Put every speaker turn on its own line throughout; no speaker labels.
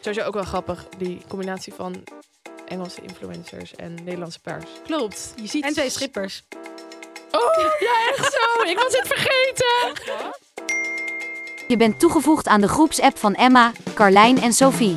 Sowieso ook wel grappig, die combinatie van Engelse influencers en Nederlandse paars.
Klopt. Je ziet
En twee schippers.
Oh, ja, echt zo. Ik was het vergeten.
Je bent toegevoegd aan de groepsapp van Emma, Carlijn en Sophie.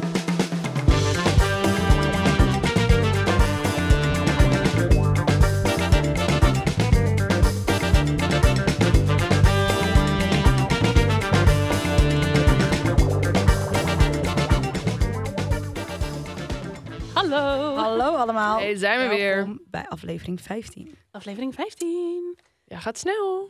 Hallo.
Hallo allemaal.
Hey, zijn we weer.
Welkom bij aflevering 15.
Aflevering 15.
Ja, gaat snel.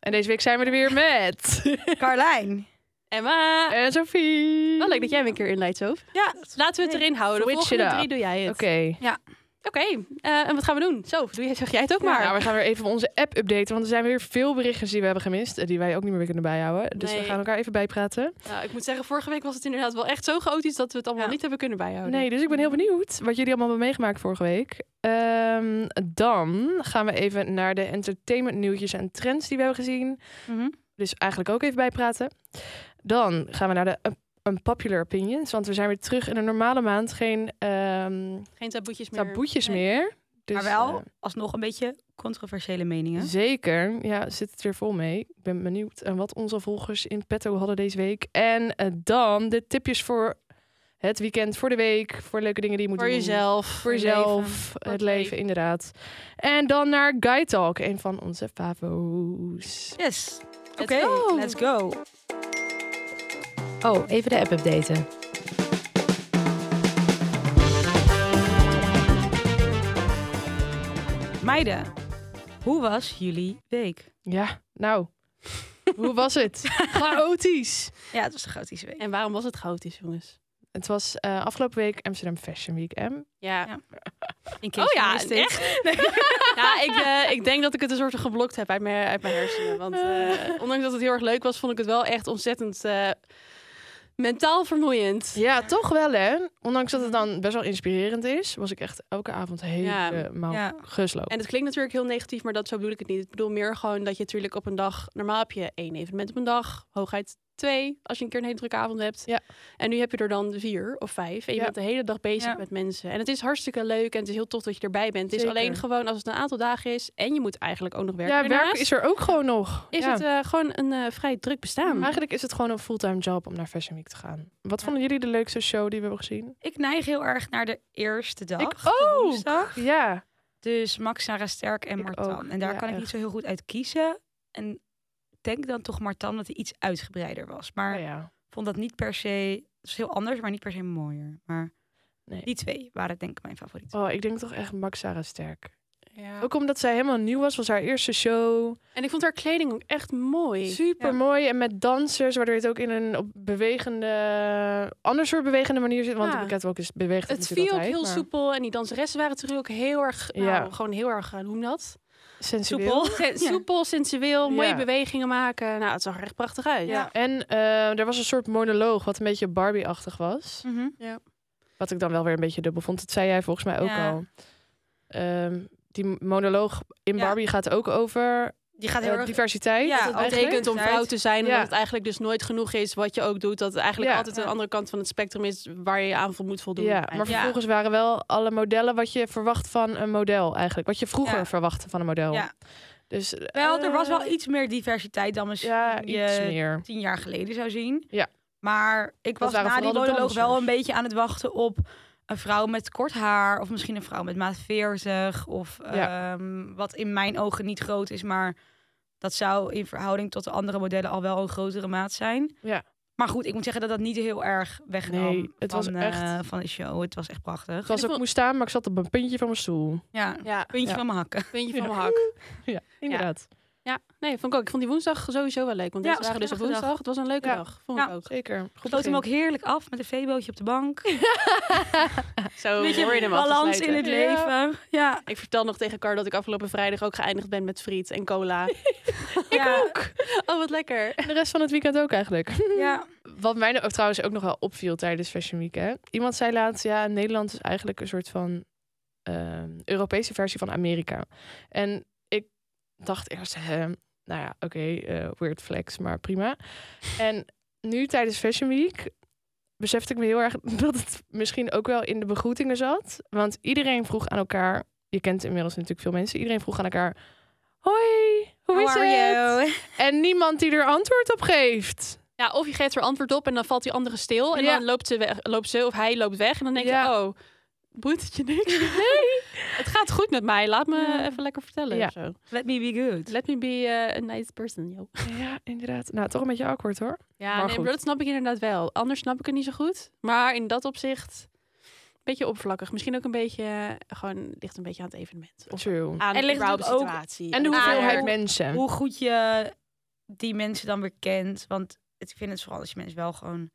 En deze week zijn we er weer met.
Carlijn.
Emma.
en Sophie.
Wel leuk dat jij hem een keer inleidt, Soof.
Ja.
Laten we het
Nee,
erin houden. De
switch
volgende
it up.
drie doe jij het.
Oké.
Oké, eh, en wat gaan we doen? Zo, doe jij, zeg jij het ook maar.
Nou, we gaan weer even onze app updaten, want er zijn weer veel berichtjes die we hebben gemist. eh, Die wij ook niet meer weer kunnen bijhouden. Dus
Nee.
we gaan elkaar even bijpraten.
Nou, ik moet zeggen, vorige week was het inderdaad wel echt zo chaotisch dat we het allemaal
Ja.
niet hebben kunnen bijhouden.
Nee, dus ik ben heel benieuwd wat jullie allemaal hebben meegemaakt vorige week. Ehm, dan gaan we even naar de entertainment nieuwtjes en trends die we hebben gezien.
Mhm.
Dus eigenlijk ook even bijpraten. Dan gaan we naar de up- unpopular opinions. Want we zijn weer terug in een normale maand. Geen ehm
Geen taboetjes meer.
taboetjes
Nee.
meer. Dus,
maar wel
eh,
alsnog een beetje controversiële meningen.
zeker. Ja, zit het weer vol mee. Ik ben benieuwd aan wat onze volgers in petto hadden deze week. En eh, dan de tipjes voor het weekend, voor de week, voor leuke dingen die je moet
Voor
doen.
jezelf.
Voor jezelf, het,
het
leven,
leven.
inderdaad. En dan naar Guy Talk, een van onze favo's.
Yes. Oké,
go.
let's go.
Oh, even de app updaten.
Meiden, hoe was jullie week?
Ja, nou, hoe was het? Chaotisch.
Ja, het was een chaotische week.
En waarom was het chaotisch, jongens?
Het was eh, afgelopen week Amsterdam Fashion Week, M.
Ja,
Ja. In
Oh
je
ja,
mist het.
ja ik, eh, ik denk dat ik het een soort van geblokt heb uit mijn, uit mijn hersenen. Want eh, ondanks dat het heel erg leuk was, vond ik het wel echt ontzettend eh, mentaal vermoeiend.
Ja, toch wel, hè? Ondanks dat het dan best wel inspirerend is, was ik echt elke avond helemaal
Ja.
gesloopt.
En het klinkt natuurlijk heel negatief, maar dat zo bedoel ik het niet. Ik bedoel meer gewoon dat je natuurlijk op een dag... Normaal heb je één evenement op een dag, hooguit twee, als je een keer een hele drukke avond hebt.
Ja.
En nu heb je er dan vier of vijf. En je
Ja.
bent de hele dag bezig
Ja.
met mensen. En het is hartstikke leuk en het is heel tof dat je erbij bent. Het is
Zeker.
alleen gewoon als het een aantal dagen is en je moet eigenlijk ook nog werken.
Ja, werk
daarnaast,
is er ook gewoon nog.
is
Ja.
het eh, gewoon een eh, vrij druk bestaan.
Eigenlijk is het gewoon een fulltime job om naar Fashion Week te gaan. Wat vonden jullie de leukste show die we hebben gezien?
Ik neig heel erg naar de eerste dag.
Ik
de
ook.
woensdag.
Ja,
Dus Max, Sarah Sterk en
Ik ook.
Martan. En daar
Ja,
kan ik
echt.
niet zo heel goed uit kiezen. En ik denk dan toch Martan dat hij iets uitgebreider was. Maar
nou
ik
ja.
vond dat niet per se... Het was heel anders, maar niet per se mooier. Maar
Nee.
die twee waren denk ik mijn favorieten.
Oh, ik denk toch echt Max Sarah Sterk.
Ja.
Ook omdat zij helemaal nieuw was, was haar eerste show.
En ik vond haar kleding ook echt mooi.
Super mooi en met dansers, waardoor je het ook in een op bewegende, ander soort bewegende manier zit. Want
Ja.
de pakket ook is beweegt.
het
natuurlijk
viel ook
altijd,
heel
maar
soepel. En die danseressen waren natuurlijk ook heel erg... Nou,
Ja.
gewoon heel erg, eh, hoe noem je dat?
Sensueel.
Sen- Soepel, sensueel, mooie
Ja.
bewegingen maken. Nou, het zag er echt prachtig uit.
Ja.
En eh, er was een soort monoloog, wat een beetje Barbie-achtig was.
Mhm.
Wat ik dan wel weer een beetje dubbel vond. Dat zei jij volgens mij ook
Ja.
al. Ehm, die monoloog in
Ja.
Barbie gaat ook over
Die gaat
eh,
heel erg...
diversiteit.
Ja,
Dat
ook
eigenlijk.
betekent om vrouw te zijn en
Ja.
dat het eigenlijk dus nooit genoeg is wat je ook doet. Dat het eigenlijk
Ja.
altijd een andere kant van het spectrum is waar je je aan vo- moet voldoen.
Ja, maar
eigenlijk.
Ja.
vervolgens waren wel alle modellen wat je verwacht van een model eigenlijk. Wat je vroeger
Ja.
verwachtte van een model.
Ja.
Dus
Wel, er
eh,
was wel iets meer diversiteit dan misschien
Ja,
je
iets meer.
tien jaar geleden zou zien.
Ja.
Maar
Dat
ik was
waren
na die
vooral de
monoloog wel
dansers.
een beetje aan het wachten op een vrouw met kort haar. Of misschien een vrouw met maat 40. Of
Ja.
ehm, wat in mijn ogen niet groot is. Maar dat zou in verhouding tot de andere modellen al wel een grotere maat zijn.
Ja.
Maar goed, ik moet zeggen dat dat niet heel erg wegnam
Nee, het
van,
was echt-
eh, van de show. Het was echt prachtig.
Ik was ook moest staan, maar ik zat op een puntje van mijn stoel.
Ja,
Ja,
puntje
Ja.
van mijn hakken.
puntje
Ja.
van mijn hak.
Ja, inderdaad.
Ja, nee, vond ik ook. Ik vond die woensdag sowieso wel leuk. Want
Ja,
deze
was
waren
een
dus op
gezellige
woensdag. Het was een leuke
Ja.
dag. Vond ik
Ja.
ook.
Zeker. Goed
Sloot hem
begin.
ook heerlijk af met een veebootje op de bank.
Oh,
Zo
Een
hoor je
beetje
hem
balans
afsluiten.
in het
Ja.
leven. Ja.
Ik vertel nog tegen Car dat ik afgelopen vrijdag ook geëindigd ben met friet en cola.
ja.
oh, wat lekker.
En de rest van het weekend ook eigenlijk.
Ja.
Wat mij nou ook trouwens ook nog wel opviel tijdens Fashion Week. Hè? Iemand zei laatst, ja, Nederland is eigenlijk een soort van ehm, Europese versie van Amerika. En ik dacht eerst, hè, nou ja, oké, eh, weird flex, maar prima. en nu tijdens Fashion Week besefte ik me heel erg dat het misschien ook wel in de begroetingen zat. Want iedereen vroeg aan elkaar, je kent inmiddels natuurlijk veel mensen, iedereen vroeg aan elkaar, hoi, hoe
How
is
are
het?
you?
En niemand die er antwoord op geeft.
Ja, of je geeft er antwoord op en dan valt die andere stil. En
Ja.
dan loopt ze, weg, loopt ze of hij loopt weg. En dan denk je,
Ja.
oh, boeit het je niks? Het gaat goed met mij. Laat me
Ja.
even lekker vertellen.
Ja.
of zo.
Let me be good.
Let me be eh, a nice person, yo.
Ja, inderdaad. Nou, toch een beetje awkward hoor.
Ja,
Maar
nee,
goed.
maar dat snap ik inderdaad wel. Anders snap ik het niet zo goed. Maar in dat opzicht, een beetje oppervlakkig. Misschien ook een beetje, eh, gewoon ligt een beetje aan het evenement. Of
True.
aan
En
de
ligt
überhaupt
het ook
situatie.
En de
Ah,
hoeveelheid
ja.
mensen.
Hoe goed je die mensen dan weer kent. Want het- ik vind het vooral als je mensen wel gewoon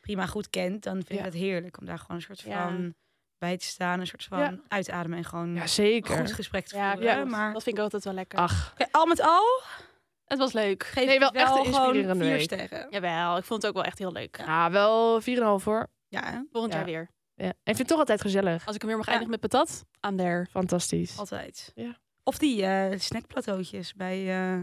prima goed kent. Dan vind ik
Ja.
het heerlijk om daar gewoon een soort
Ja.
van bij te staan. Een soort van
Ja.
uitademen en gewoon
Ja,
een goed
zeker.
gesprek te
Ja,
voeren.
ja, Ah.
maar
dat vind ik altijd wel lekker.
Ach,
Oké, al met al
Het was leuk.
geef
Nee,
ik
wel
het
echt een
gewoon
inspirerende
vier
week.
sterren.
Jawel, ik vond het ook wel echt heel leuk.
ja, wel 4,5 hoor.
Ja, hè?
Volgend
Ja.
jaar weer.
Ja. En ik vind het toch altijd gezellig.
Als ik hem weer mag
Ja.
eindigen met patat, aan der.
Fantastisch.
altijd.
Ja.
Of die eh snackplateautjes bij... eh,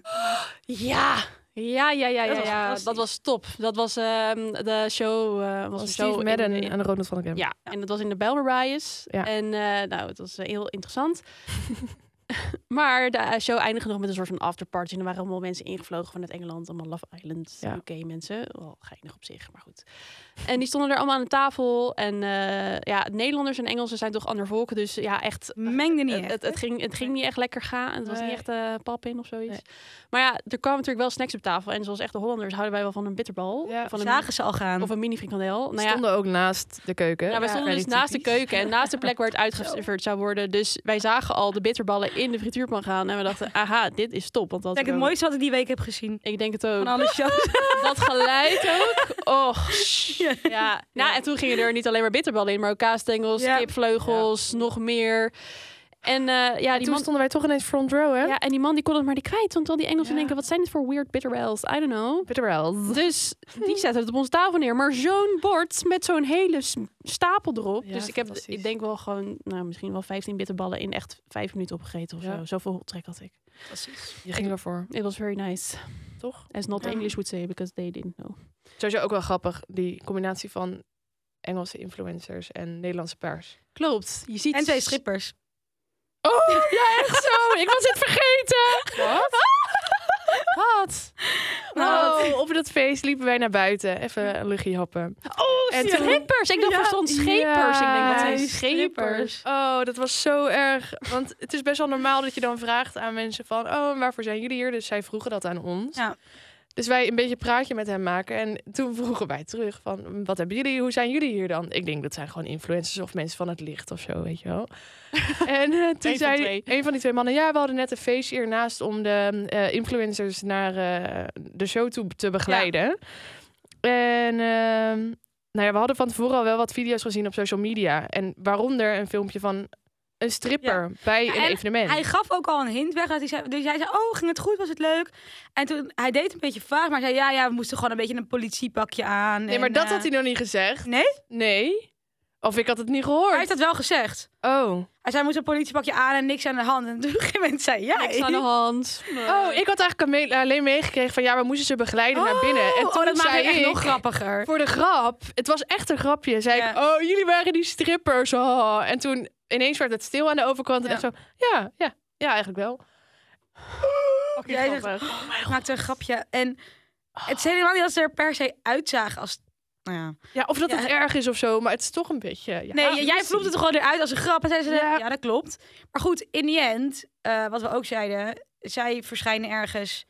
Ja! Ja, ja, ja,
Dat
ja.
was
ja.
fantastisch.
Dat was top. Dat was ehm, de show. eh, was een
Was
show
Steve
in-
Madden
in-
en Ronald van der Kemp.
Ja, en dat was in de Belmarias.
Ja.
En eh, nou, het was eh, heel interessant. maar de eh, show eindigde nog met een soort van afterparty. En er waren allemaal mensen ingevlogen vanuit Engeland. Allemaal Love Island,
Ja.
UK mensen. Wel geinig op zich, maar goed. En die stonden er allemaal aan de tafel. En eh, ja, Nederlanders en Engelsen zijn toch ander volk. Dus ja, echt...
mengde niet
Het,
echt,
het, het ging, het ging niet echt lekker gaan. Het was
Nee.
niet echt eh, pap in of zoiets.
Nee.
Maar ja, er kwamen natuurlijk wel snacks op tafel. En zoals echte Hollanders houden wij wel van een bitterbal.
Ja.
Van een,
Zagen ze al gaan.
of een mini frikandel. Nou ja,
stonden ook naast de keuken.
ja, wij stonden dus
Very
naast de
typisch.
keuken en naast de plek waar het uitgeserveerd zou worden. Dus wij zagen al de bitterballen in de frituurpan gaan. En we dachten, aha, dit is top. Want dat
Kijk, het mooiste wat ik die week heb gezien.
Ik denk het ook.
Van alle shows.
Dat geluid ook. Och. Ja. Nou, en toen gingen er niet alleen maar bitterballen in, maar ook kaasstengels,
Ja.
kipvleugels, nog meer. En eh, ja,
En
die
toen
man...
stonden wij toch ineens front row, hè?
Ja, en die man die kon het maar niet kwijt. Want al die Engelsen
Ja.
denken, wat zijn dit voor weird bitterballs? I don't know.
Bitterweld.
Dus die zetten het op onze tafel neer. Maar zo'n bord met zo'n hele s- stapel erop.
Ja,
dus ik heb,
fantastisch.
ik denk wel gewoon, nou misschien wel 15 bitterballen in echt vijf minuten opgegeten of
Ja.
zo. Zoveel trek had ik.
Je ging ervoor,
It was very nice.
toch?
As not
Ja.
English would say, because they didn't know.
Sowieso ook wel grappig, die combinatie van Engelse influencers en Nederlandse paars.
Klopt. Je ziet...
En twee strippers.
Oh, ja, echt zo. Ik was het vergeten. Wat? Wat?
Nou,
Oh, op dat feest liepen wij naar buiten. Even een luchtje happen.
Oh,
En toen-
Strippers! Ik dacht
Ja.
van zo'n schepers. Ik denk, wat zijn
Ja,
schepers?
Oh, dat was zo erg. Want het is best wel normaal dat je dan vraagt aan mensen van... oh, en waarvoor zijn jullie hier? Dus zij vroegen dat aan ons.
Ja.
Dus wij een beetje praatje met hem maken. En toen vroegen wij terug van... wat hebben jullie? Hoe zijn jullie hier dan? Ik denk dat zijn gewoon influencers of mensen van het licht of zo, weet je wel. en eh, toen
van
zei
twee.
een van die twee mannen... ja, we hadden net een feestje hiernaast om de eh, influencers naar eh, de show toe te begeleiden. En... ehm, nou ja, we hadden van tevoren al wel wat video's gezien op social media. En waaronder een filmpje van een stripper bij
Ja,
een
en
evenement.
Hij gaf ook al een hint weg. Dat hij zei, dus hij zei, oh, ging het goed? Was het leuk? En toen, hij deed een beetje vaag, maar hij zei, ja, ja, we moesten gewoon een beetje een politiepakje aan.
Nee, maar dat had hij nog niet gezegd.
eh, Nee?
Nee. Of ik had het niet
Hij
gehoord.
heeft dat wel gezegd.
Oh.
Hij zei, moest een politiepakje aan en niks aan de hand. En toen op een gegeven moment zei hij,
Niks
ja.
aan de hand.
Oh, ik had eigenlijk ame- alleen meegekregen van ja, we moesten ze begeleiden naar binnen. En
oh,
toen
dat maakt
zei
het echt
ik,
nog grappiger.
voor de grap, het was echt een grapje, zei ik, oh, jullie waren die strippers. Oh. En toen ineens werd het stil aan de overkant. En
Ja.
echt zo, ja, ja, ja, eigenlijk wel.
Jij zegt,
Grappig.
maakte een grapje. En het is helemaal niet dat ze er per se uitzagen als... Nou ja.
Ja, of dat
Ja.
het erg is of zo, maar het is toch een beetje... ja, Ah,
Nee, j- jij
missie.
vloept het er gewoon eruit als een grap. En zij zei,
Ja.
ja. dat klopt. Maar goed, in the end, eh, wat we ook zeiden... Zij verschijnen ergens.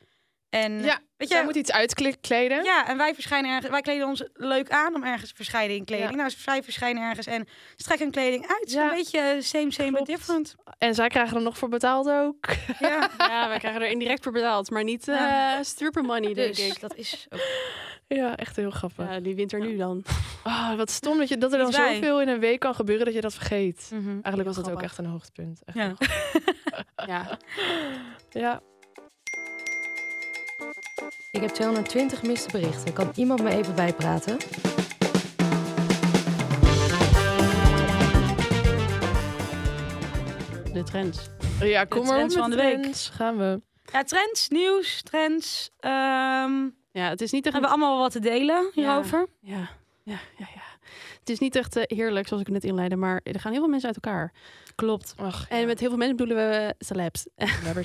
En,
Ja,
weet
Jij
je,
moet iets uitkleden.
ja, en wij verschijnen ergens. Wij kleden ons leuk aan om ergens te verschijnen in kleding.
Ja.
Nou, zij verschijnen ergens en strekken hun kleding uit. Het is
Ja.
een beetje eh, same, same, but
Klopt.
different.
En zij krijgen er nog voor betaald ook.
Ja.
Ja, wij krijgen er indirect voor betaald. Maar niet eh,
Ja.
stripper money, denk
Dus
ik.
dat is ook
Ja, echt heel grappig.
Ja, die wint er nu dan.
Ah, wat stom dat, je, dat er dan
Niet wij.
zoveel in een week kan gebeuren dat je dat vergeet. Eigenlijk was dat ook
Grappig.
echt een hoogtepunt. Echt.
Mhm. Ja.
Ja.
Ja.
Ik heb 220 miste berichten. Kan iemand me even bijpraten?
De trends.
ja, kom maar op
trends
met
van de week.
trends. Gaan we.
ja, trends, nieuws, trends. ehm,
Ja, het is niet
we
echt...
hebben allemaal wat te delen hierover.
Ja, ja, ja. ja. het is niet echt eh, heerlijk, zoals ik net inleidde, maar er gaan heel veel mensen uit elkaar. Klopt.
Ach,
En met heel veel mensen bedoelen we eh, celebs.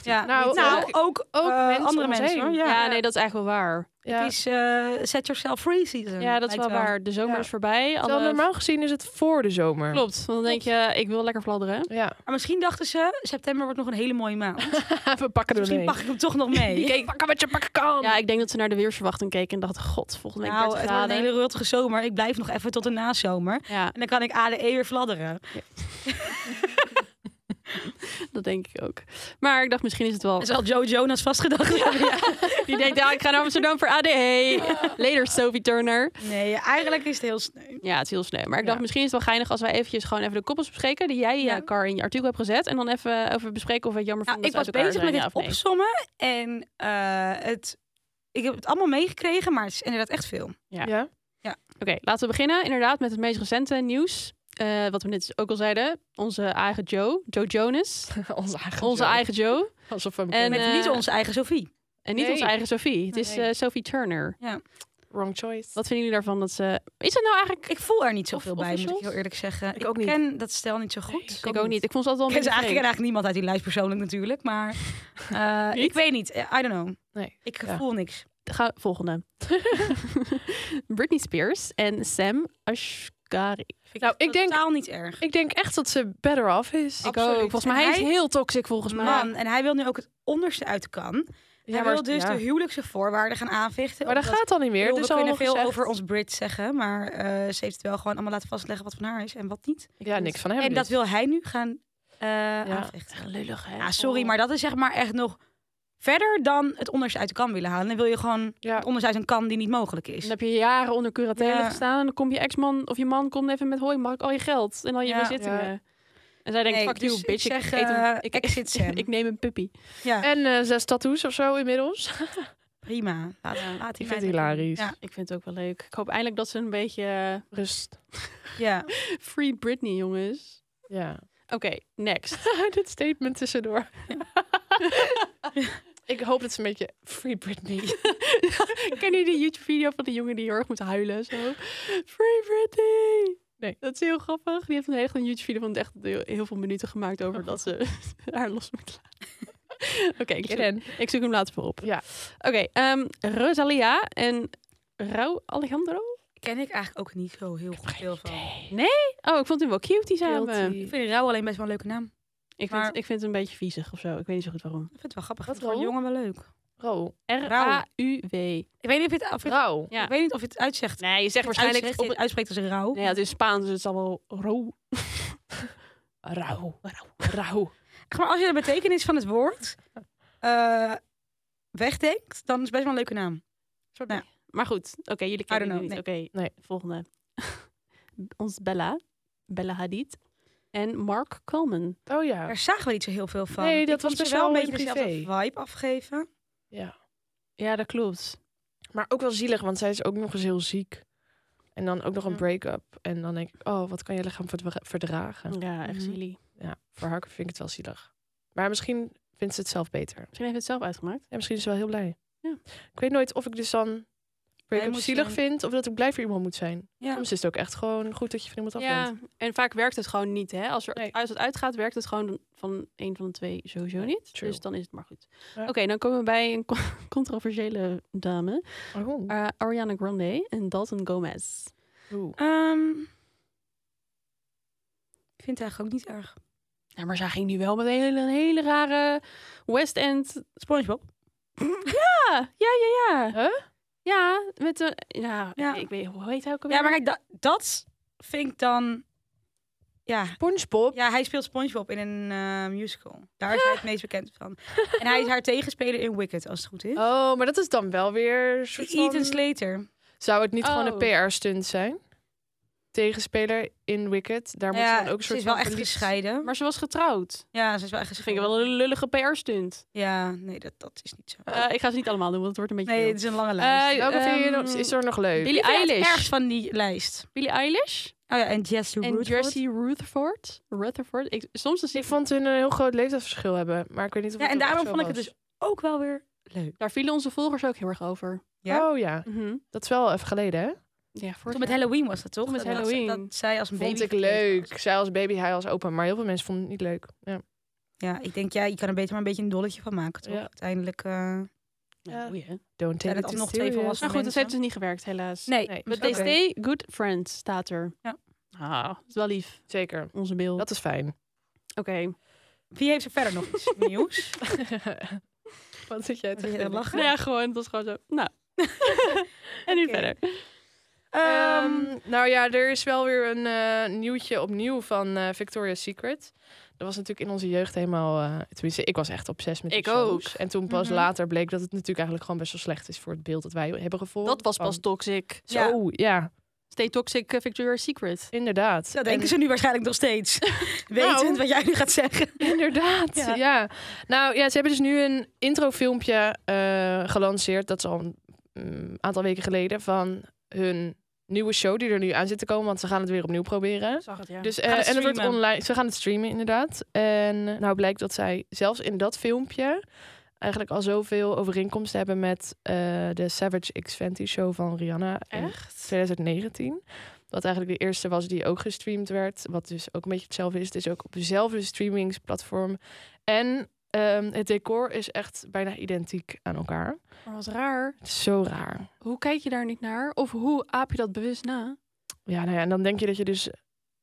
Ja,
Nou,
nou,
ook-
ook, ook,
ook
eh,
mensen
andere
om ons
mensen.
heen.
hoor.
Ja,
Ja.
nee, dat is eigenlijk wel waar.
ja.
Het is eh, set yourself free season.
Ja, dat is wel
lijkt
waar. De zomer
Ja.
is voorbij.
Terwijl
Alle...
normaal gezien is het voor de zomer.
Klopt, want dan denk je, ik wil lekker fladderen.
Ja,
Maar misschien dachten ze, september wordt nog een hele mooie maand. Dus
we pakken er
misschien
een.
pak ik hem toch nog mee.
Kijk, pakken wat je pakken kan.
Ja, ik denk dat ze naar de weersverwachting keken en dachten, god, volgende week
Nou,
30
het wordt een
graden.
hele ruttige zomer. Ik blijf nog even tot de nazomer.
Ja,
En dan kan ik ADE weer fladderen.
dat denk ik ook. Maar ik dacht, misschien is het wel...
Dat zal Joe Jonas vastgedacht hebben.
Die denkt, ja, ik ga naar Amsterdam voor ADE. Later, Sophie Turner.
Nee, eigenlijk is het heel sneu.
Ja, het is heel sneu. Maar ik
Ja.
dacht, misschien is het wel geinig als wij eventjes gewoon even de koppels bespreken... die jij,
Ja.
ja. Kar, in je artikel hebt gezet. En dan even, even bespreken of we het jammer
Nou,
vinden
ik
dat
was
ze uit
bezig
elkaar
met het
zijn, ja, of nee.
opsommen. En eh, het, ik heb het allemaal meegekregen, maar het is inderdaad echt veel.
Ja.
Ja. Oké, laten we beginnen inderdaad met het meest recente nieuws. Eh, wat we net ook al zeiden. Onze eigen Joe, Joe Jonas.
Onze eigen.
Onze
Joe.
eigen Joe.
Alsof we hem
En,
kennen.
Met
eh,
niet onze eigen Sophie.
En niet
Nee.
onze eigen Sophie. Het is
Nee.
eh, Sophie Turner.
Wrong choice.
Wat vinden jullie daarvan dat ze... Is dat nou eigenlijk...
Ik voel er niet zoveel
Of-
bij, moet ik
officials?
heel eerlijk zeggen.
Ik ook niet.
ken dat stel niet zo goed.
Ik, ook niet. Ik vond ze
Ik
altijd wel
ken,
een
ze eigenlijk, ik ken
beetje
eigenlijk niemand uit die lijst persoonlijk natuurlijk, maar eh,
Niet?
ik weet niet. Eh, I don't know.
Nee.
Ik
Ja.
voel niks.
vreemd. Ga, volgende. Britney Spears en Sam Ashkari.
Vind
Nou, ik denk-
totaal niet erg.
Ik denk echt dat ze better off is.
Ik
Absoluut.
ook. Volgens
En
mij hij is
hij-
heel toxic volgens mij.
Man, en hij wil nu ook het onderste uit de kan. hij wil dus
ja.
de huwelijkse voorwaarden gaan aanvechten.
Maar dat
omdat-
gaat al niet
Ik
meer.
bedoel,
dus
we kunnen
allemaal
veel
gezegd.
over ons Brit zeggen, maar eh, ze heeft het wel gewoon allemaal laten vastleggen wat van haar is en wat niet.
Ja, niks van hem.
en dat
dus.
wil hij nu gaan eh aanvechten.
Echt lullig, hè?
Ja, sorry,
Oh.
maar dat is zeg maar echt nog verder dan het onderste uit de kan willen halen. Dan wil je gewoon
Ja.
het onderste uit een kan die niet mogelijk is.
Dan heb je jaren onder curatele
Ja.
gestaan. En dan komt je ex-man of je man komt even met... Hoi, mag ik al je geld? En al je
Ja.
bezittingen. En zij denkt,
Nee,
fuck
dus
you,
ik
bitch. Ik,
zeg,
eet een-
eh,
ik,
exit Sam.
ik neem een puppy.
Ja,
En eh, zes tattoos of zo inmiddels.
prima. Laat,
Ja,
laat die
Ik vind het
meid lekker doen.
hilarisch.
Ja,
Ik vind het ook wel leuk. Ik hoop eindelijk dat ze een beetje... eh,
Rust.
ja.
Free Britney, jongens.
Ja.
Oké, next.
Dit statement tussendoor. Ik hoop dat ze een beetje Free Britney.
Ken je die YouTube-video van die jongen die heel erg moet huilen? Zo. Free Britney!
Nee.
Dat is heel grappig. Die heeft een hele goede YouTube-video van echt heel, heel veel minuten gemaakt over dat ze haar los moet laten. Oké, ik, zoek-
Ken.
ik zoek hem later voor op.
Ja.
Oké, ehm, Rosalia en Rauw Alejandro?
Ken ik eigenlijk ook niet zo heel goed veel van.
Oh, ik vond hem wel cute, die samen.
Ik vind Rauw alleen best wel een leuke naam.
Ik,
Maar-
vind, ik vind het een beetje viezig of zo. Ik weet niet zo goed waarom.
Ik vind het wel grappig.
Wat
Wat voor
Raoul?
jongen wel leuk.
Ro.
R-A-U-W.
Ik weet niet of je het, of je het-
Rauw.
Ja.
ik weet niet of je het uitzegt.
Nee, je zegt
Of je het
waarschijnlijk...
uitzegt,
op-
je het uitspreekt als een Rauw.
Nee, het is Spaans, dus het zal wel Rauw
Rauw. Rauw.
Echt, maar als je de betekenis van het woord eh, wegdenkt, dan is het best wel een leuke naam.
Sorry. Maar goed, oké, jullie
I
kennen het
don't
niet.
know,
Oké,
Nee.
volgende. Ons Bella, Bella Hadid en Mark Coleman.
Oh ja.
Daar zagen we niet zo heel veel van.
Nee, dat
Ik vond
was best
ze wel
wel
een beetje
in privé.
dezelfde vibe afgeven.
ja.
Ja, dat klopt.
Maar ook wel zielig, want zij is ook nog eens heel ziek. En dan ook nog een
Ja.
break-up. En dan denk ik, oh, wat kan je lichaam verdra- verdragen?
Ja, echt
Mhm.
jullie.
Ja, voor haar vind ik het wel zielig. Maar misschien vindt ze het zelf beter.
Misschien heeft het zelf uitgemaakt.
Ja, misschien is ze wel heel blij.
Ja.
Ik weet nooit of ik dus dan break-up
moet
zielig
zijn.
vind... of dat ik blij voor iemand moet zijn.
Ja.
Soms is het ook echt gewoon goed dat je van iemand af bent.
Ja, en vaak werkt het gewoon niet, hè? Als, er,
Nee.
als het uitgaat, werkt het gewoon van een van de twee sowieso niet.
true.
Dus dan is het maar goed.
Ja.
Oké, dan komen we bij een con- controversiële dame.
Oh.
Eh, Ariana Grande en Dalton Gomez.
Oeh.
Ehm, ik vind het eigenlijk ook niet erg.
Ja, maar zij ging nu wel met een hele, een hele rare West End
Spongebob.
Ja, ja, ja, ja.
Huh?
Ja, met de... Ja,
Ja.
Ik, ik weet... Hoe heet hij ook alweer?
Ja, maar kijk, dat, dat vind ik dan... Ja,
SpongeBob.
Ja, hij speelt SpongeBob in een eh, musical. Daar is hij het meest bekend van. En hij is haar tegenspeler in Wicked, als het goed is.
Oh, maar dat is dan wel weer... een soort van-
Ethan Slater.
Zou het niet gewoon
Oh.
een PR-stunt zijn? Tegenspeler in Wicked. Daar moet
Ja,
je dan ook een
ze
soort
is wel
van
echt
verliefd-
gescheiden.
Maar ze was getrouwd.
Ja, ze is wel echt
Dat vind ik
gescheiden.
wel een lullige PR-stunt.
Ja, nee, dat, dat is niet zo.
Eh, ik ga ze niet allemaal doen, want het wordt een beetje...
Nee,
veel.
het is een lange lijst.
Eh,
Welke vind je dan-
Ehm,
is er nog leuk?
Billie
Ik vind het
Eilish.
ergst van die lijst.
Billie Eilish
Oh ja, en Jesse
en
Rutherford.
Jessie Rutherford. Rutherford. Ik, soms dan zie
Ik
ik...
vond hun een heel groot leeftijdsverschil hebben. Maar ik weet niet of
Ja, en
dat
daarom
zo
vond ik het
was.
dus ook wel weer leuk.
Daar vielen onze volgers ook heel erg over.
Ja.
Oh ja,
Mhm.
dat is wel even geleden, hè?
Ja, voor
Toen met Halloween was dat toch?
Toen met
Dat- dat-
Halloween.
Dat zij als een baby
Vond ik
verkleed was.
leuk. Zij als baby, hij als opa. Maar heel veel mensen vonden het niet leuk. Ja.
Ja, ik denk, ja, je kan er beter maar een beetje een dolletje van maken, toch?
Ja.
Uiteindelijk. eh,
Ja.
Boeien.
Don't
Ja,
take it
dat is nog
nog
twee
serious.
volwassenen.
Maar goed, dat heeft dus niet gewerkt, helaas.
Nee,
Nee.
But
Oké.
they stay good friends, staat er.
Ja.
Ah, dat is wel lief,
Zeker.
onze beeld.
Dat is fijn.
Oké.
wie heeft er verder nog iets nieuws?
Wat zit jij
Wat zit jij te lachen?
Nou ja, gewoon, dat is gewoon zo. Nou. en nu
Oké.
verder.
Ehm, nou ja, er is wel weer een eh, nieuwtje opnieuw van eh, Victoria's Secret. Dat was natuurlijk in onze jeugd helemaal... eh, tenminste, ik was echt obsessief met die
Ik
shows. En toen pas
Mhm.
later bleek dat het natuurlijk eigenlijk gewoon best wel slecht is voor het beeld dat wij hebben gevolgd.
Dat was pas
Van-
toxic.
Zo, ja,
Oh. Stay toxic eh, Victoria's Secret.
inderdaad.
Dat
En-
denken ze nu waarschijnlijk nog steeds. Wetend
Nou.
wat jij nu gaat zeggen.
Inderdaad,
Ja.
ja. Nou ja, ze hebben dus nu een introfilmpje eh gelanceerd. Dat is al een mm, aantal weken geleden. Van hun nieuwe show die er nu aan zit te komen. Want ze gaan het weer opnieuw proberen.
Zag het, ja.
Dus,
Gaan
eh,
het
en het wordt
streamen.
online. Ze gaan het streamen, inderdaad. En eh, nou blijkt dat zij zelfs in dat filmpje eigenlijk al zoveel overeenkomsten hebben met eh, de Savage X Fenty show van Rihanna in
Echt?
2019. Dat eigenlijk de eerste was die ook gestreamd werd. Wat dus ook een beetje hetzelfde is. Het is ook op dezelfde streamingsplatform. En ehm, het decor is echt bijna identiek aan elkaar.
Maar wat raar.
Het is zo raar.
Hoe kijk je daar niet naar? Of hoe aap je dat bewust na?
Ja, nou ja, en dan denk je dat je dus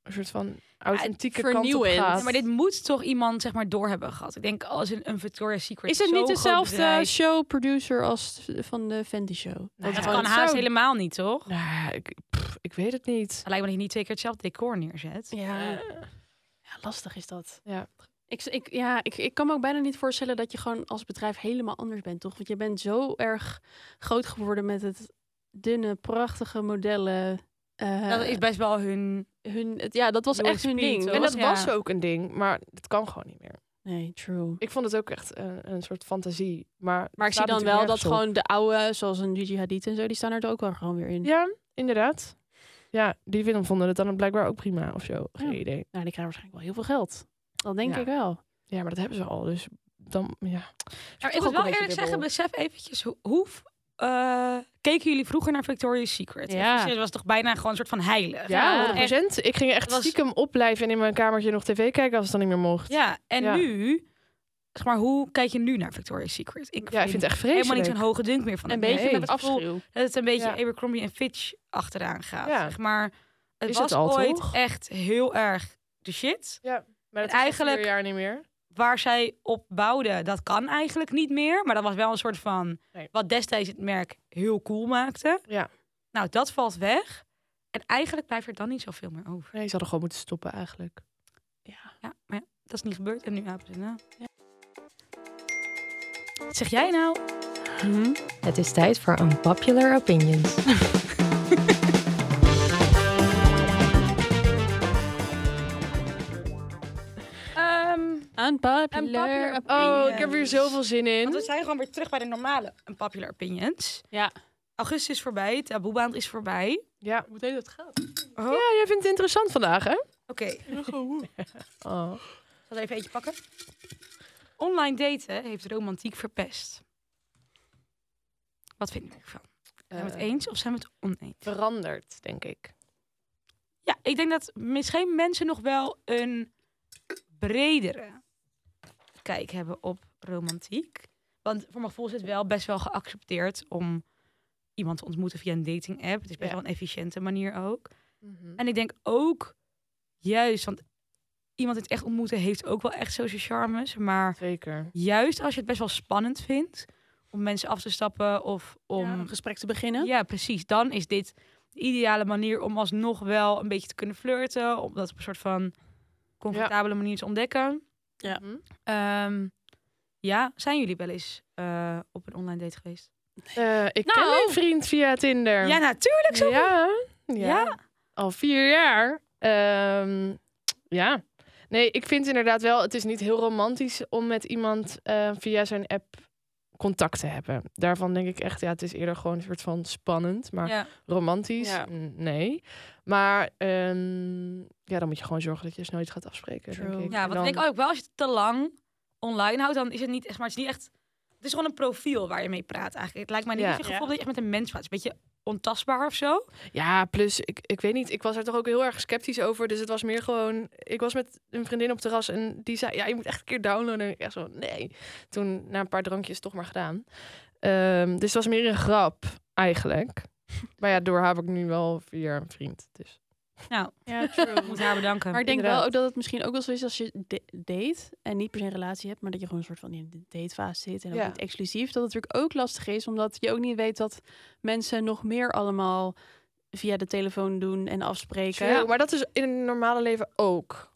een soort van authentieke kant op
vernieuwend.
gaat.
Ja, maar dit moet toch iemand zeg maar door hebben gehad. Ik denk als een, een Victoria's Secret.
Is het
zo'n
niet
groot
dezelfde
bedrijf-
showproducer als van de Fenty Show?
Nou,
Dat
Ja.
kan
Het
haast
zou-
helemaal niet, toch?
Nou, ik, pff, ik weet het niet.
Het Lijkt me dat je niet twee keer hetzelfde decor neerzet.
Ja. Ja, lastig is dat.
Ja.
Ik, ik, ja, ik, ik kan me ook bijna niet voorstellen dat je gewoon als bedrijf helemaal anders bent, toch? Want je bent zo erg groot geworden met het dunne, prachtige modellen. eh,
Dat is best wel hun.
hun, het- ja, dat was
USP,
echt hun ding.
toch?
En dat
Ja.
was ook een ding, maar het kan gewoon niet meer.
Nee, true.
Ik vond het ook echt een, een soort fantasie. Maar, het
Maar ik zie
slaat
dan
natuurlijk
wel dat
nergens op.
gewoon de oude, zoals een Gigi Hadid en zo, die staan er ook wel gewoon weer in.
Ja, inderdaad. Ja, die film vonden het dan blijkbaar ook prima of zo. Geen
Ja.
idee.
Nou, die krijgen waarschijnlijk wel heel veel geld. Dat denk
Ja.
ik wel.
Ja, maar dat hebben ze al. Dus dan, ja.
Maar ik moet wel eerlijk zeggen, besef eventjes hoe. hoe eh, keken jullie vroeger naar Victoria's Secret?
Ja.
Het was toch bijna gewoon een soort van heilig.
Ja,
Ja, 100%. Ik ging echt
Het was-
stiekem opblijven en in mijn kamertje nog tv kijken als het dan niet meer mocht. Ja,
Ja, en
Ja.
nu, zeg maar, hoe kijk je nu naar Victoria's Secret? Ik
ik vind het echt vreselijk.
helemaal niet zo'n hoge dunk meer van.
Een
het merk.
beetje
Nee.
met afschuw.
Dat het een beetje
Ja.
Abercrombie en Fitch achteraan gaat.
Ja.
Zeg maar, het
Is
was
het al,
ooit
toch?
echt heel erg de shit.
Maar dat
Eigenlijk-
eigenlijk... is al vier jaar niet meer.
Waar zij op bouwden, dat kan eigenlijk niet meer. Maar dat was wel een soort van,
Nee.
wat destijds het merk heel cool maakte.
Ja.
Nou, dat valt weg. En eigenlijk blijft er dan niet zoveel meer over.
Nee, ze hadden gewoon moeten stoppen eigenlijk.
Ja, maar ja, dat is niet gebeurd. En nu apen ze na. Wat zeg jij nou?
Het is tijd voor Unpopular Opinions.
Unpopular.
Unpopular
Oh, ik heb
Opinions.
weer zoveel zin in.
Want we zijn gewoon weer terug bij de normale unpopular opinions.
Ja.
Augustus is voorbij, taboe is voorbij.
Ja.
Hoe deed dat gaat?
Oh,
ja, jij vindt het interessant vandaag, hè?
Oké,
Oh.
zal er even eentje pakken. Online daten heeft romantiek verpest. Wat vinden jullie ervan? Zijn we het
Eh,
eens of zijn we het oneens?
veranderd, denk ik.
Ja, ik denk dat misschien mensen nog wel een bredere kijk hebben op romantiek. Want voor mijn gevoel is het wel best wel geaccepteerd om iemand te ontmoeten via een dating app. Het is best
Ja. Mhm.
wel een efficiënte manier ook. En ik denk ook juist, want iemand in het echt ontmoeten heeft ook wel echt zo zijn charmes. Maar
Zeker.
juist als je het best wel spannend vindt om mensen af te stappen of om.
Om
Ja,
een gesprek te beginnen.
precies. Dan is dit de ideale manier om alsnog wel een beetje te kunnen flirten. Om dat op een soort van comfortabele manier te ontdekken.
Ja.
Mhm.
Ehm, ja, zijn jullie wel eens eh, op een online date geweest?
Eh, ik
Nou.
ken mijn vriend via Tinder.
Ja, natuurlijk. zo.
Ja, ja.
Ja.
Al vier jaar. Ehm, ja. Nee, ik vind inderdaad wel, het is niet heel romantisch om met iemand eh, via zijn app contact te hebben. Daarvan denk ik echt, ja, het is eerder gewoon een soort van spannend, maar
Ja.
romantisch,
Ja.
mm, nee. Maar ehm, ja, dan moet je gewoon zorgen dat je dus nooit gaat afspreken,
True.
denk ik. En
Ja, want
dan-
ik denk ook wel, als je het te lang online houdt, dan is het niet echt, maar het is niet echt. Het is gewoon een profiel waar je mee praat eigenlijk. Het lijkt mij niet
Ja.
dat je het gevoel dat je echt met een mens praat. Het is een beetje ontastbaar of zo.
Ja, plus ik, ik weet niet, ik was er toch ook heel erg sceptisch over. Dus het was meer gewoon, ik was met een vriendin op het terras en die zei, ja, je moet echt een keer downloaden. En ik echt zo, nee. Toen na een paar drankjes toch maar gedaan. Ehm, dus het was meer een grap, eigenlijk. Maar ja, door heb ik nu wel via een vriend. Dus.
Ja, true.
Ik Nou, moet haar bedanken.
Maar ik denk wel
Inderdaad.
ook dat het misschien ook wel zo is als je de- date en niet per se een relatie hebt, maar dat je gewoon een soort van in de datefase zit en ook
Ja.
niet exclusief. Dat het natuurlijk ook lastig is, omdat je ook niet weet wat mensen nog meer allemaal via de telefoon doen en afspreken.
True, eh, Maar dat is in het normale leven ook.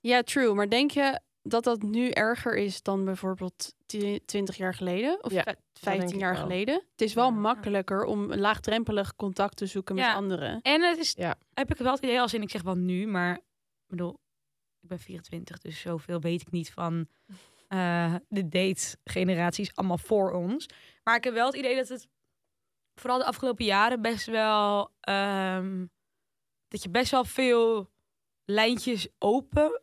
Ja, true. Maar denk je dat dat nu erger is dan bijvoorbeeld twi- 20 jaar geleden of
Ja,
vij-
denk
15
ik
jaar
wel.
geleden? Het is wel
Ja.
makkelijker om laagdrempelig contact te zoeken met
Ja.
anderen.
En het is,
Ja.
heb ik wel het idee als in, ik zeg wel nu, maar ik bedoel, ik ben 24, dus zoveel weet ik niet van eh, de date-generaties allemaal voor ons. Maar ik heb wel het idee dat het vooral de afgelopen jaren best wel, ehm, dat je best wel veel lijntjes open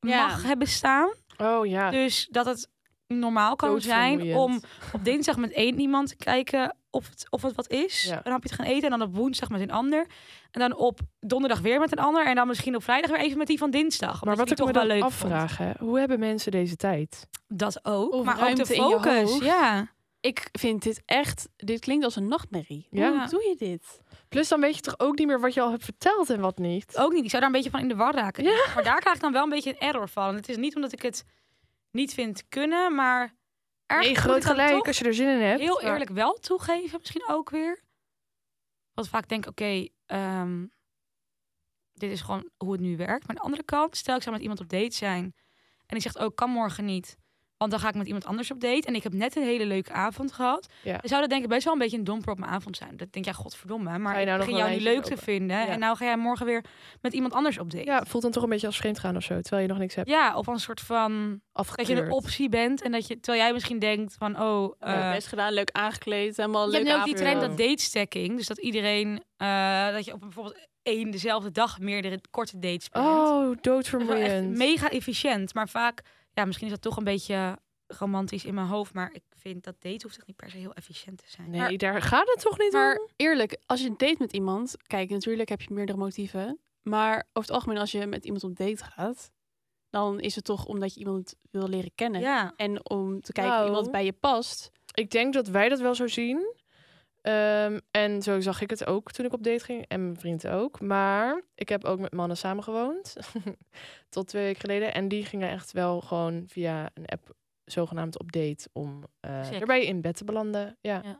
Ja.
mag hebben staan.
Oh ja.
Dus dat het normaal kan zijn
doodvermoeiend.
om op dinsdag met één iemand te kijken of het, of het wat is.
Ja.
Een hapje te gaan eten. En dan op woensdag met een ander. En dan op donderdag weer met een ander. En dan misschien op vrijdag weer even met die van dinsdag.
Maar wat
omdat je
ik
die
me
toch wel
dan
leuk
afvraag, hè, hoe hebben mensen deze tijd?
vond. Dat ook.
Of
maar ook de
ruimte in je
focus.
hoofd.
Ja.
Ik vind dit echt, dit klinkt als een nachtmerrie.
Ja.
Hoe doe je dit?
Plus dan weet je toch ook niet meer wat je al hebt verteld en wat niet.
Ook niet. Ik zou daar een beetje van in de war raken. Maar daar krijg ik dan wel een beetje een error van. En het is niet omdat ik het niet vind kunnen, maar... ergens
nee,
moet ik
groot
dan
gelijk
toch
als je er zin in hebt.
heel
Maar-
eerlijk wel toegeven, misschien ook weer. Want vaak denk ik, oké, ehm, dit is gewoon hoe het nu werkt. Maar aan de andere kant, stel ik zou met iemand op date zijn. En ik zeg, oh, ik kan morgen niet. Want dan ga ik met iemand anders op date. En ik heb net een hele leuke avond gehad.
Ja.
Dan zou dat denk ik best wel een beetje een domper op mijn avond zijn. Dat denk jij, godverdomme. Maar
Ga je nou
ik
nog
begin
een
jou nu
lijntje
leuk te
lopen?
vinden.
Ja.
En nou ga jij morgen weer met iemand anders op date.
Ja, voelt dan toch een beetje als vreemd gaan of zo, terwijl je nog niks hebt
Ja, of een soort van... Dat je
afgekleurd.
een optie bent. En dat je, terwijl jij misschien denkt van, oh... eh,
best gedaan, leuk aangekleed, helemaal
Je
leuk
hebt nu ook die trend dat date stacking. Dus dat iedereen, eh, dat je op bijvoorbeeld één dezelfde dag meerdere korte dates plant.
Oh,
Dat is wel echt
doodvermoeiend.
mega efficiënt. Maar vaak, ja, misschien is dat toch een beetje romantisch in mijn hoofd. Maar ik vind dat date hoeft toch niet per se heel efficiënt te zijn.
Nee,
maar-
daar gaat het toch niet
Maar
om?
eerlijk, als je date met iemand, kijk, natuurlijk heb je meerdere motieven. Maar over het algemeen, als je met iemand op date gaat, dan is het toch omdat je iemand wil leren kennen.
Ja.
En om te kijken of
Nou.
iemand bij je past.
Ik denk dat wij dat wel zo zien. Ehm, en zo zag ik het ook toen ik op date ging. En mijn vriend ook. Maar ik heb ook met mannen samengewoond. Tot twee weken geleden. En die gingen echt wel gewoon via een app zogenaamd op date. Om eh
Seks.
erbij in bed te belanden. Ja.
Oké,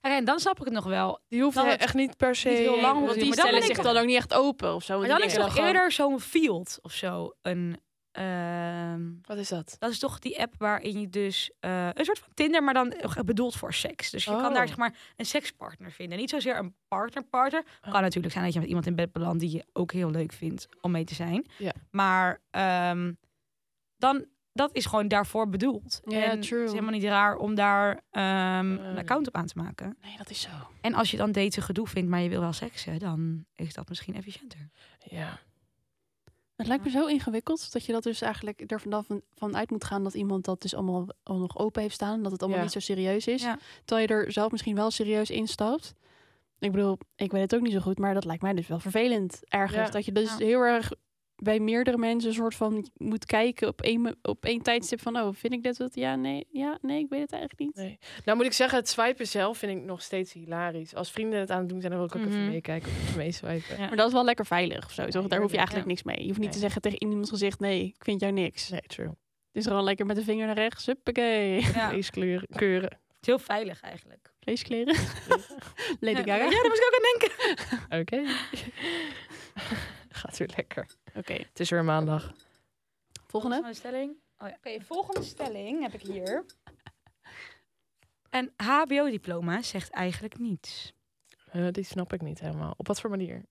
en dan snap ik het nog wel.
Die hoefde
Dan het-
echt niet per se...
niet heel lang, want
Want
die
die
maar dan
stellen
ben ik
zich dan ook niet echt open of zo.
Maar
want
dan
die
is
denken
toch
dan gewoon-
eerder zo'n field of zo. Een, ehm,
Wat is dat?
dat is toch die app waarin je dus eh, een soort van Tinder, maar dan bedoeld voor seks. Dus je kan daar
Oh.
zeg maar een sekspartner vinden. Niet zozeer een partner-partner. Kan natuurlijk zijn dat je met iemand in bed belandt die je ook heel leuk vindt om mee te zijn.
Ja.
Maar ehm, dan, dat is gewoon daarvoor bedoeld.
Ja,
en
true.
Het is helemaal niet raar om daar ehm,
Eh.
een account op aan te maken.
Nee, dat is zo.
En als je dan daten gedoe vindt, maar je wil wel seksen, dan is dat misschien efficiënter.
Ja.
Het lijkt me zo ingewikkeld dat je dat dus eigenlijk er vanaf van uit moet gaan dat iemand dat dus allemaal al nog open heeft staan. Dat het allemaal
Ja.
niet zo serieus is.
Ja.
Terwijl je er zelf misschien wel serieus instapt. Ik bedoel, ik weet het ook niet zo goed, maar dat lijkt mij dus wel vervelend ergens.
Ja.
Dat je dus
Ja.
heel erg bij meerdere mensen een soort van moet kijken op één, me- op één tijdstip van oh, vind ik dit wat? Ja, nee, ja, nee, ik weet het eigenlijk niet.
Nee. Nou moet ik zeggen, het swipen zelf vind ik nog steeds hilarisch. Als vrienden het aan het doen zijn, dan wil ik ook
Mhm.
even meekijken of even meeswipen.
Ja.
Maar dat is wel lekker veilig of zo. Toch? Daar hoef je
heerlijk,
eigenlijk niks mee. Je hoeft niet
Nee.
te zeggen tegen iemands gezicht, nee, ik vind jou niks.
Nee, true.
Het is gewoon lekker met de vinger naar rechts, huppakee.
Ja. Het
Vleeskeuren. Keuren.
is heel veilig eigenlijk.
Vleeskleren. Lady
ja,
Gaga.
ja, daar moest ik ook aan denken.
Oké. Gaat weer lekker.
Oké,
Het is weer maandag.
volgende.
Volgende stelling. Oh, ja. Oké, volgende stelling heb ik hier. Een HBO-diploma zegt eigenlijk niets.
Eh, die snap ik niet helemaal. Op wat voor manier?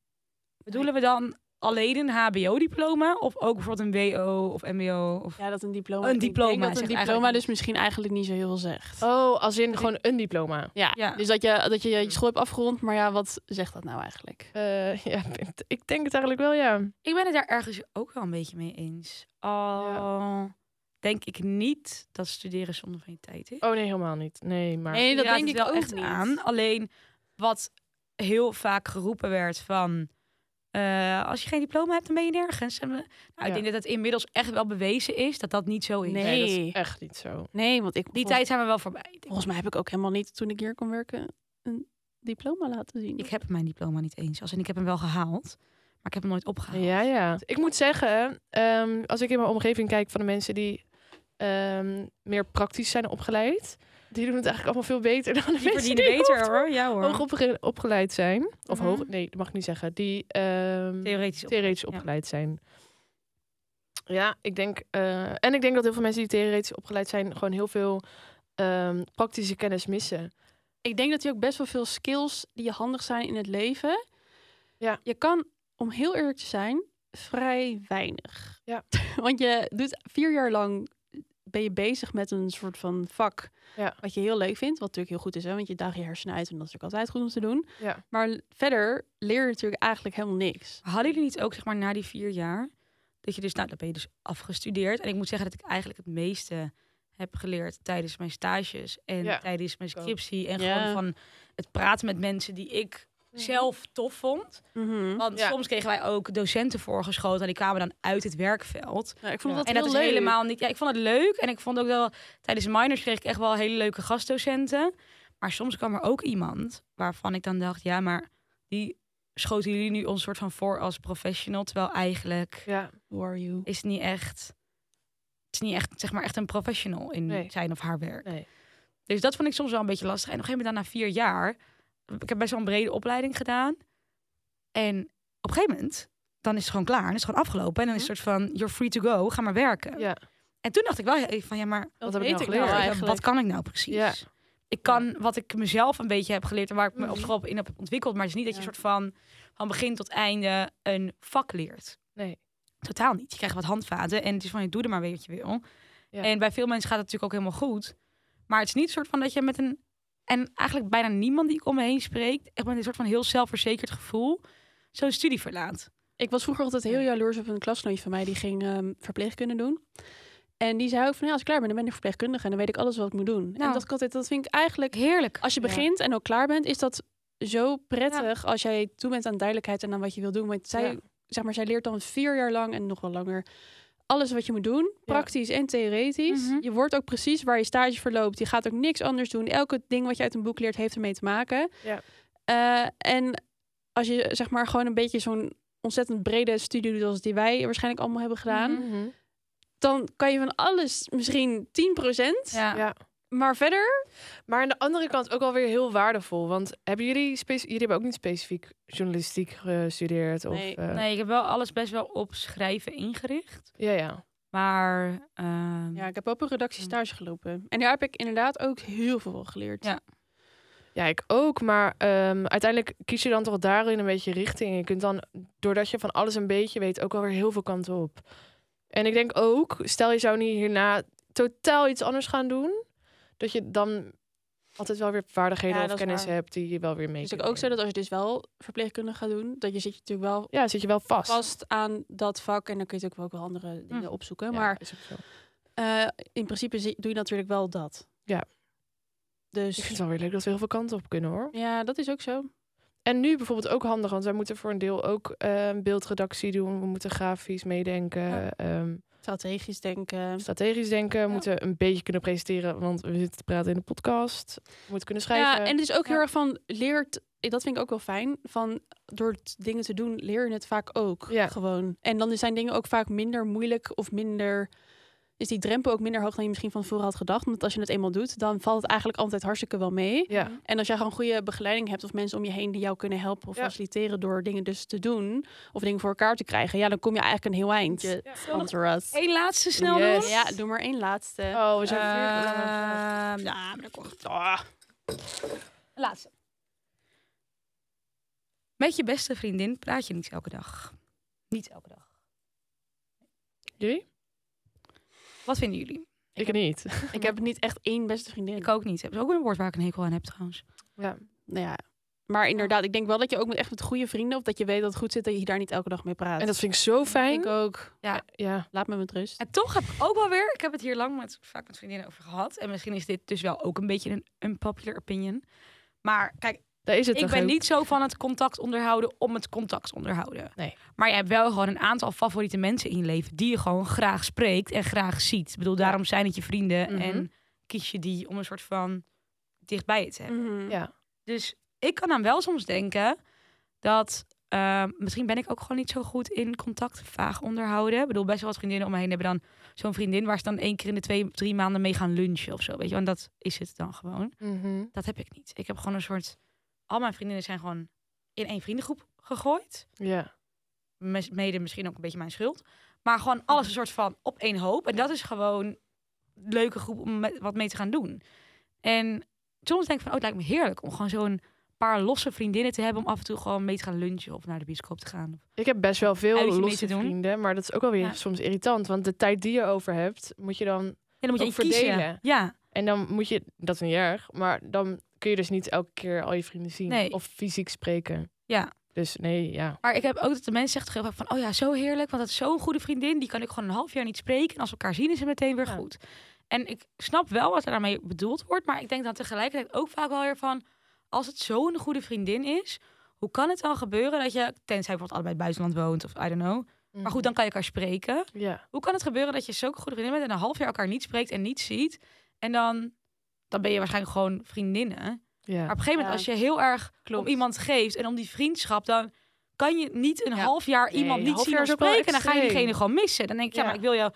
Bedoelen we dan alleen een HBO-diploma of ook bijvoorbeeld een WO of MBO? Of...
Ja, dat een diploma.
Een
ik denk
diploma
dat
zegt
een diploma
eigenlijk niks.
dus misschien eigenlijk niet zo heel veel zegt.
Oh, als in
ik-
gewoon een diploma.
Ja,
Ja.
dus dat je, dat je je school hebt afgerond, maar ja, wat zegt dat nou eigenlijk?
Eh, ja, ik denk het eigenlijk wel, ja.
Ik ben het daar ergens ook wel een beetje mee eens. Al denk ik niet dat studeren zonder van je tijd is.
Oh nee, helemaal niet. Nee, maar...
Nee,
Je
dat
raadt
denk
het
ik
wel
ook
echt
niet.
aan. Alleen Wat heel vaak geroepen werd van... eh, als je geen diploma hebt, dan ben je nergens. En we- nou,
Ja.
Ik denk dat het inmiddels echt wel bewezen is dat dat niet zo is.
Nee, dat
Nee.
is echt niet zo.
Nee, want ik
Die
volgens,
tijd zijn we wel voorbij. denk ik.
volgens mij heb ik ook helemaal niet toen ik hier kon werken een diploma laten zien.
Ik heb mijn diploma niet eens. Als en ik heb hem wel gehaald, maar ik heb hem nooit opgehaald.
Ja, ja. Oh, Ik moet zeggen, ehm, als ik in mijn omgeving kijk van de mensen die ehm, meer praktisch zijn opgeleid, die doen het eigenlijk allemaal veel beter dan de
Die
mensen
verdienen
die
beter
hoog-
hoor. Ja hoor.
hoog opge- opgeleid zijn. Of
Mhm.
hoog, nee, dat mag ik niet zeggen. Die ehm,
Theoretisch. op-
theoretisch
ja.
opgeleid zijn. Ja, ik denk. eh, en ik denk dat heel veel mensen die theoretisch opgeleid zijn, gewoon heel veel ehm, praktische kennis missen.
ik denk dat je ook best wel veel skills die je handig zijn in het leven.
Ja.
Je kan, om heel eerlijk te zijn, vrij weinig.
Ja.
Want je doet vier jaar lang ben je bezig met een soort van vak
Ja.
wat je heel leuk vindt, wat natuurlijk heel goed is, hè? want je daagt je hersenen uit en dat is natuurlijk altijd goed om te doen.
Ja.
Maar l- verder leer je natuurlijk eigenlijk helemaal niks.
Hadden jullie niet ook, zeg maar, na die vier jaar, dat je dus, nou, dan ben je dus afgestudeerd. En ik moet zeggen dat ik eigenlijk het meeste heb geleerd tijdens mijn stages en
Ja.
tijdens mijn
Zo.
scriptie. En
Ja.
gewoon van het praten met mensen die ik zelf tof vond. Want
Ja.
soms kregen wij ook docenten voorgeschoten en die kwamen dan uit het werkveld.
Ja, ik vond
Ja.
dat
en
heel
dat is
leuk.
helemaal niet. Ja, ik vond het leuk en ik vond ook wel tijdens minors kreeg ik echt wel hele leuke gastdocenten. Maar soms kwam er ook iemand waarvan ik dan dacht, ja, maar die schoten jullie nu ons soort van voor als professional, terwijl eigenlijk
Ja,
Who are you?
Mm.
is het niet echt, het is niet echt, zeg maar echt een professional in
Nee.
zijn of haar werk.
nee.
Dus dat vond ik soms wel een beetje lastig. En op een gegeven moment, daarna vier jaar, ik heb best wel een brede opleiding gedaan. En op een gegeven moment, dan is het gewoon klaar. Dan is het gewoon afgelopen. En dan is het soort van, you're free to go, ga maar werken.
Mhm. Ja.
En toen dacht ik wel even van, ja, maar
Wat heb ik
weet
nou
nou
geleerd?
ja,
eigenlijk?
wat kan ik nou precies?
Ja.
Ik kan wat ik mezelf een beetje heb geleerd en waar ik me op
Mhm.
school in heb ontwikkeld. Maar het is niet dat je
Ja.
soort van, van begin tot einde een vak leert.
Nee.
Totaal niet. Je krijgt wat handvaten en het is van, je doe er maar weer wat je wil.
Ja.
En bij veel mensen gaat het natuurlijk ook helemaal goed. Maar het is niet een soort van dat je met een... En eigenlijk bijna niemand die ik om me heen spreekt... echt met een soort van heel zelfverzekerd gevoel... zo'n studie verlaat.
Ik was vroeger altijd heel jaloers op een klasgenootje van mij die ging ehm, verpleegkunde doen. En die zei ook van ja, als ik klaar ben, dan ben ik verpleegkundige en dan weet ik alles wat ik moet doen. En
Nou.
dat, ik altijd, dat vind ik eigenlijk,
Heerlijk.
als je
Ja.
begint en ook klaar bent, is dat zo prettig als jij toe bent aan duidelijkheid en aan wat je wil doen. Want zij,
Ja.
zeg maar, zij leert dan vier jaar lang en nog wel langer alles wat je moet doen, praktisch en theoretisch.
Mhm.
Je wordt ook precies waar je stage verloopt. Je gaat ook niks anders doen. Elke ding wat je uit een boek leert, heeft ermee te maken.
Ja.
Eh, en als je zeg maar gewoon een beetje zo'n ontzettend brede studie doet als die wij waarschijnlijk allemaal hebben gedaan,
Mhm.
dan kan je van alles misschien 10%,
Ja.
Ja.
maar verder
Maar aan de andere kant ook alweer heel waardevol. Want hebben jullie, spec- jullie hebben ook niet specifiek journalistiek gestudeerd? Of,
Nee.
eh,
Nee, ik heb wel alles best wel op schrijven ingericht.
Ja, ja.
Maar... ehm,
Ja, ik heb ook een redactiestage gelopen. En daar heb ik inderdaad ook heel veel van geleerd. Dus
Ja.
Ja, ik ook. Maar ehm, uiteindelijk kies je dan toch daarin een beetje richting. Je kunt dan, doordat je van alles een beetje weet, ook alweer heel veel kanten op. En ik denk ook, stel je zou niet hierna totaal iets anders gaan doen, dat je dan altijd wel weer vaardigheden
Ja,
of
dat is
kennis
waar.
hebt die je wel weer mee
Dus ik
kunt
ook zo
nemen.
dat als je dus wel verpleegkundige gaat doen, dat je zit je natuurlijk wel
Ja, zit je wel vast.
vast aan dat vak. En dan kun je natuurlijk ook wel andere dingen opzoeken.
Hm. Ja,
Maar
is ook zo.
eh, in principe zi- doe je natuurlijk wel dat.
Ja.
Dus
Ik vind het wel weer leuk dat we heel veel kanten op kunnen hoor.
ja, dat is ook zo.
En nu bijvoorbeeld ook handig, want wij moeten voor een deel ook eh, beeldredactie doen. We moeten grafisch meedenken,
Ja.
ehm,
Strategisch denken.
strategisch denken. We moeten een beetje kunnen presenteren, want we zitten te praten in de podcast. We moeten kunnen schrijven.
Ja, en het is ook heel
Ja.
erg van leert. Dat vind ik ook wel fijn. Van door t- dingen te doen leer je het vaak ook
Ja.
gewoon. En dan zijn dingen ook vaak minder moeilijk of minder. Is die drempel ook minder hoog dan je misschien van tevoren had gedacht? Want als je het eenmaal doet, dan valt het eigenlijk altijd hartstikke wel mee.
ja,
En als jij gewoon goede begeleiding hebt of mensen om je heen die jou kunnen helpen of
Ja.
faciliteren door dingen dus te doen of dingen voor elkaar te krijgen, ja, dan kom je eigenlijk een heel eind.
Ja.
On the road.
Eén laatste snel
Yes.
doen.
Ja, doe maar één laatste. Eh,
Oh, we zijn weer geland.
Ehm, Ja, maar dat komt. Ah. Laatste. Met je beste vriendin praat je niet elke dag. Niet elke dag.
Jullie?
Wat vinden jullie?
Ik, niet.
Ik heb niet echt één beste vriendin.
Ik ook niet. Heb ook een woord waar ik een hekel aan heb trouwens.
Ja.
Nou ja. Maar inderdaad, ik denk wel dat je ook met echt met goede vrienden, of dat je weet dat het goed zit, dat je daar niet elke dag mee praat.
En dat vind ik zo fijn.
ik ook.
Ja.
Laat me met rust.
En toch heb ik ook wel weer, ik heb het hier lang met, vaak met vriendinnen over gehad. En misschien is dit dus wel ook een beetje een unpopular opinion. Maar kijk,
Daar is het
ik
toch
ben
ook?
niet zo van het contact onderhouden om het contact onderhouden.
Nee.
Maar je hebt wel gewoon een aantal favoriete mensen in je leven die je gewoon graag spreekt en graag ziet. Ik bedoel, daarom zijn het je vrienden
Mhm.
en kies je die om een soort van dichtbij je te hebben.
Mhm.
Ja.
Dus ik kan dan wel soms denken dat eh, misschien ben ik ook gewoon niet zo goed in contact vaag onderhouden. Ik bedoel, best wel wat vriendinnen om me heen hebben dan zo'n vriendin waar ze dan één keer in de twee, drie maanden mee gaan lunchen of zo. Weet je, want dat is het dan gewoon.
Mhm.
Dat heb ik niet. Ik heb gewoon een soort. Al mijn vriendinnen zijn gewoon in één vriendengroep gegooid.
Ja.
Mes- Mede misschien ook een beetje mijn schuld. Maar gewoon alles een soort van op één hoop. En dat is gewoon een leuke groep om met, wat mee te gaan doen. En soms denk ik van, oh, het lijkt me heerlijk om gewoon zo'n paar losse vriendinnen te hebben. Om af en toe gewoon mee te gaan lunchen of naar de bioscoop te gaan. Of-
Ik heb best wel
Uitje
veel
mee
losse
te doen.
vrienden, maar dat is ook wel weer
Ja.
soms irritant. Want de tijd die je over hebt, moet je dan...
Ja, dan moet je
Ook
in kiezen.
verdelen.
Ja,
En dan moet je... Dat is niet erg, maar dan kun je dus niet elke keer al je vrienden zien.
Nee.
Of fysiek spreken.
Ja.
Dus nee, ja.
maar ik heb ook dat de mensen zegt heel vaak van, oh ja, zo heerlijk, want dat is zo'n goede vriendin. Die kan ik gewoon een half jaar niet spreken. En als we elkaar zien, is het meteen weer
Ja.
goed. En ik snap wel wat er daarmee bedoeld wordt, maar ik denk dan tegelijkertijd ook vaak wel weer van, als het zo'n goede vriendin is, hoe kan het dan gebeuren dat je, tenzij je bijvoorbeeld allebei in het buitenland woont of I don't know, maar goed, dan kan je elkaar spreken.
Ja.
Hoe kan het gebeuren dat je zo'n goede vriendin bent en een half jaar elkaar niet spreekt en niet ziet? En dan, dan ben je waarschijnlijk gewoon vriendinnen.
Ja.
Maar op een gegeven moment,
Ja.
als je heel erg
Klopt.
om iemand geeft en om die vriendschap, dan kan je niet een
Ja.
half jaar
Nee,
iemand
een
niet
half
zien
jaar
of
is ook wel
spreken. En dan ga je diegene
extreem.
gewoon missen. Dan denk ik, ja,
Ja.
maar ik wil jou,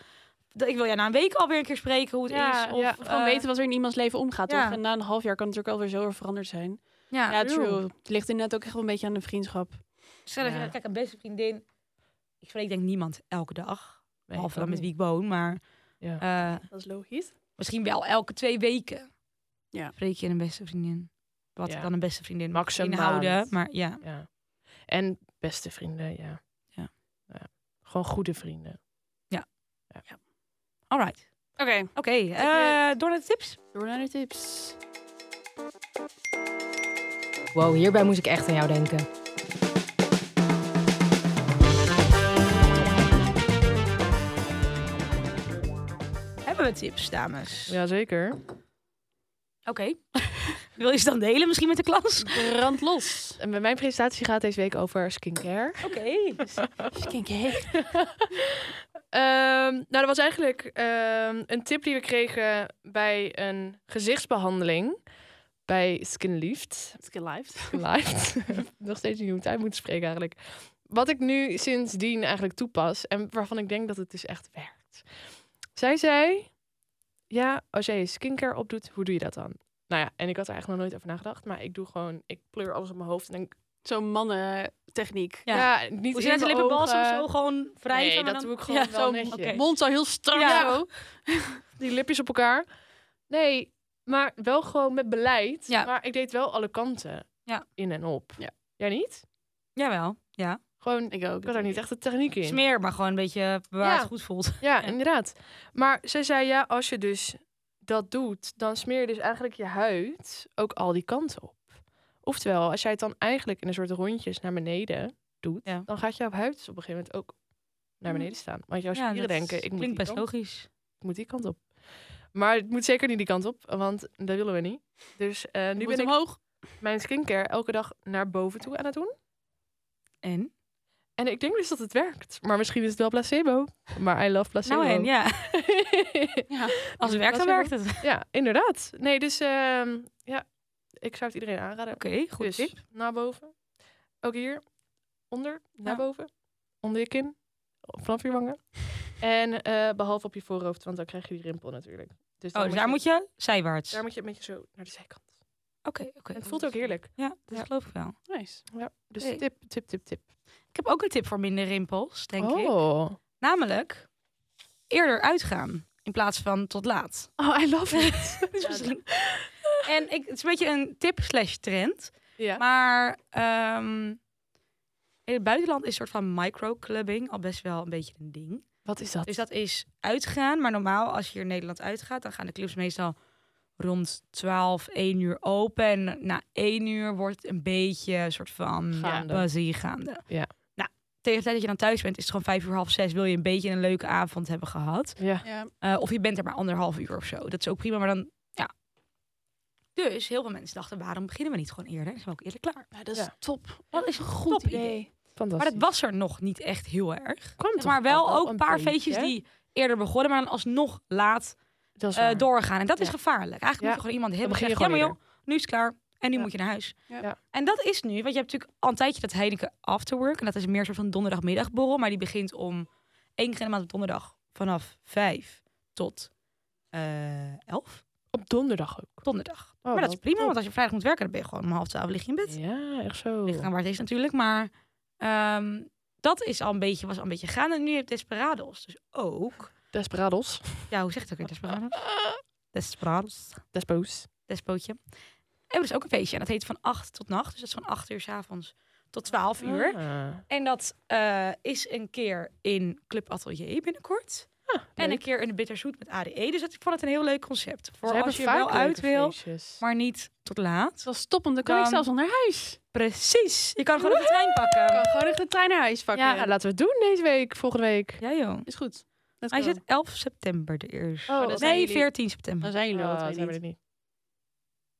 ik wil jou na een week alweer een keer spreken hoe het
Ja,
is. Of,
ja.
Of gewoon
eh,
weten wat er in iemands leven omgaat.
ja.
Toch? En na een half jaar kan het natuurlijk alweer zo weer veranderd zijn.
Ja,
Ja, true. Het ligt inderdaad ook echt wel een beetje aan de vriendschap.
Stel dat
Ja.
je kijk, een beste vriendin. Ik spreek denk ik niemand elke dag.
Nee,
behalve
kan
dan met wie
niet.
ik woon, maar
Ja.
eh,
Dat is logisch.
misschien wel elke twee weken.
Ja.
Spreek je een beste vriendin. Wat
Ja.
dan een beste vriendin mag
Max een
inhouden.
maand.
Maar ja,
Ja. En beste vrienden, ja.
Ja.
Ja. Gewoon goede vrienden.
alright.
Oké,
Oké, eh, door naar de tips.
door naar de tips.
Wow, hierbij moest ik echt aan jou denken.
Hebben we tips, dames?
Jazeker.
Oké. Wil je ze dan delen misschien met de klas?
Brand los.
En mijn presentatie gaat deze week over skincare.
Oké.
Dus
Skincare.
Ehm, nou, dat was eigenlijk ehm, een tip die we kregen bij een gezichtsbehandeling bij Skinlift.
Skin life.
Lift. Nog steeds niet hoe ik het uit moet spreken eigenlijk. Wat ik nu sindsdien eigenlijk toepas en waarvan ik denk dat het dus echt werkt. Zij zei, ja, als jij je skincare opdoet, hoe doe je dat dan? Nou ja, en ik had er eigenlijk nog nooit over nagedacht, maar ik doe gewoon, ik pleur alles op mijn hoofd en denk,
Zo'n mannentechniek.
Ja.
ja, niet
Hoe
in
zit
mijn
lippenbalsem
ogen.
zo gewoon vrij?
Nee, dat doe ik gewoon wel
zo'n-
netjes.
oké.
Mond zo heel strak.
Ja.
zo.
die lipjes op elkaar. Nee, maar wel gewoon met beleid.
Ja.
Maar ik deed wel alle kanten
Ja.
in en op.
Ja.
Jij niet?
Jawel, ja.
Gewoon, ik
Ik ook.
had daar niet echt de techniek in.
Smeer, maar gewoon een beetje waar
Ja.
het goed voelt.
Ja, inderdaad. Maar ze zei ja, als je dus dat doet, dan smeer je dus eigenlijk je huid ook al die kanten op. Oftewel, als jij het dan eigenlijk in een soort rondjes naar beneden doet,
Ja.
dan gaat jouw huid dus op een gegeven moment ook naar beneden staan. Want jouw
Ja,
spieren
dat
denken, ik moet die
klinkt best
kant
logisch.
ik moet die kant op. Maar het moet zeker niet die kant op, want dat willen we niet. Dus eh, nu
Nu
ben
ben
ik
omhoog.
mijn skincare elke dag naar boven toe aan het doen.
En?
En ik denk dus dat het werkt. Maar misschien is het wel placebo. Maar I love placebo.
Nou en, ja.
Ja.
Als het werkt, dan werkt het. Oké,
Ja, inderdaad. Nee, dus ehm, ja, ik zou het iedereen aanraden.
goed Oh,
dus,
tip.
naar boven. Ook hier, onder, naar
Ja.
boven. Onder je kin, vanaf je wangen. En eh, behalve op je voorhoofd, want dan krijg je die rimpel natuurlijk. Dus
Oh,
dan
dus daar moet je zijwaarts.
daar moet je een beetje zo naar de zijkant.
Oké, oké.
En het voelt ook heerlijk.
Ja, dat
Ja.
geloof ik wel.
Nice.
Ja, dus
Hey.
tip, tip, tip, tip.
Ik heb ook een tip voor minder rimpels, denk ik.
oh.
Namelijk, eerder uitgaan in plaats van tot laat.
Oh, I love it.
Dus misschien- En ik, het is een beetje een tip slash trend.
ja.
Maar ehm, in het buitenland is een soort van microclubbing al best wel een beetje een ding.
Wat is dat?
Dus dat is uitgaan. Maar normaal, als je hier in Nederland uitgaat, dan gaan de clubs meestal rond 12, 1 uur open. En na 1 uur wordt het een beetje een soort van
Gaande.
buzzy gaande.
Ja.
Nou, tegen de tijd dat je dan thuis bent, is het gewoon 5 uur, half 6. Wil je een beetje een leuke avond hebben gehad.
Ja.
Ja.
Eh, of je bent er maar anderhalf uur of zo. Dat is ook prima, maar dan, ja. Dus heel veel mensen dachten, waarom beginnen we niet gewoon eerder? Zijn we ook eerder klaar?
Ja, dat is
is
top.
Dat is een goed
Top idee.
Fantastisch.
Maar dat was er nog niet echt heel erg.
kwam
maar wel ook
een
een paar feestjes die eerder begonnen, maar dan alsnog laat
dat is
eh,
waar.
doorgaan. En dat is
Ja.
gevaarlijk. Eigenlijk
Ja.
moet je gewoon iemand hebben
begin
die
je
zegt, ja maar
gewoon
joh, nu is het klaar. En nu
Ja.
moet je naar huis.
Ja.
Ja.
En dat is nu, want je hebt natuurlijk al een tijdje dat Heineken Afterwork. En dat is meer een soort van donderdagmiddagborrel. Maar die begint om één keer in de maand op donderdag vanaf vijf tot eh elf.
Op donderdag ook.
Donderdag.
Oh,
maar dat
wel
is prima,
top.
want als je vrijdag moet werken, dan ben je gewoon om half twaalf lig je in bed.
Ja, echt zo.
Ligt aan waar het is natuurlijk, maar ehm, dat is al een beetje, was al een beetje gaande. En nu heb je Desperados, dus ook...
Desperados.
Ja, hoe zeg je het ook weer? Desperados? Desperados.
Despoos.
Despootje. En er is ook een feestje en dat heet van 8 tot nacht. Dus dat is van 8 uur s'avonds tot 12 uur.
Ah,
En dat eh, is een keer in Club Atelier binnenkort. en een
leuk.
keer in de Bitterzoet met ADE. Dus dat- ik vond het een heel leuk concept. Voor
Ze
als
hebben
je
vaak
wel uit
leuke
wil,
feestjes.
maar niet tot laat.
Dat is top, want dan kan ik
Dan-
zelfs al naar huis.
Precies. Je kan gewoon op de trein pakken.
kan gewoon echt de trein naar huis pakken.
Ja, laten we het doen deze week, volgende week.
eh, Ja, joh.
Is goed. Let's
Hij
go.
zit 11 september de eerst.
Oh,
dat zijn
nee,
jullie.
14
Dan
september.
Oh, zijn jullie
Ah,
al
dat
twee
hebben we
niet.
er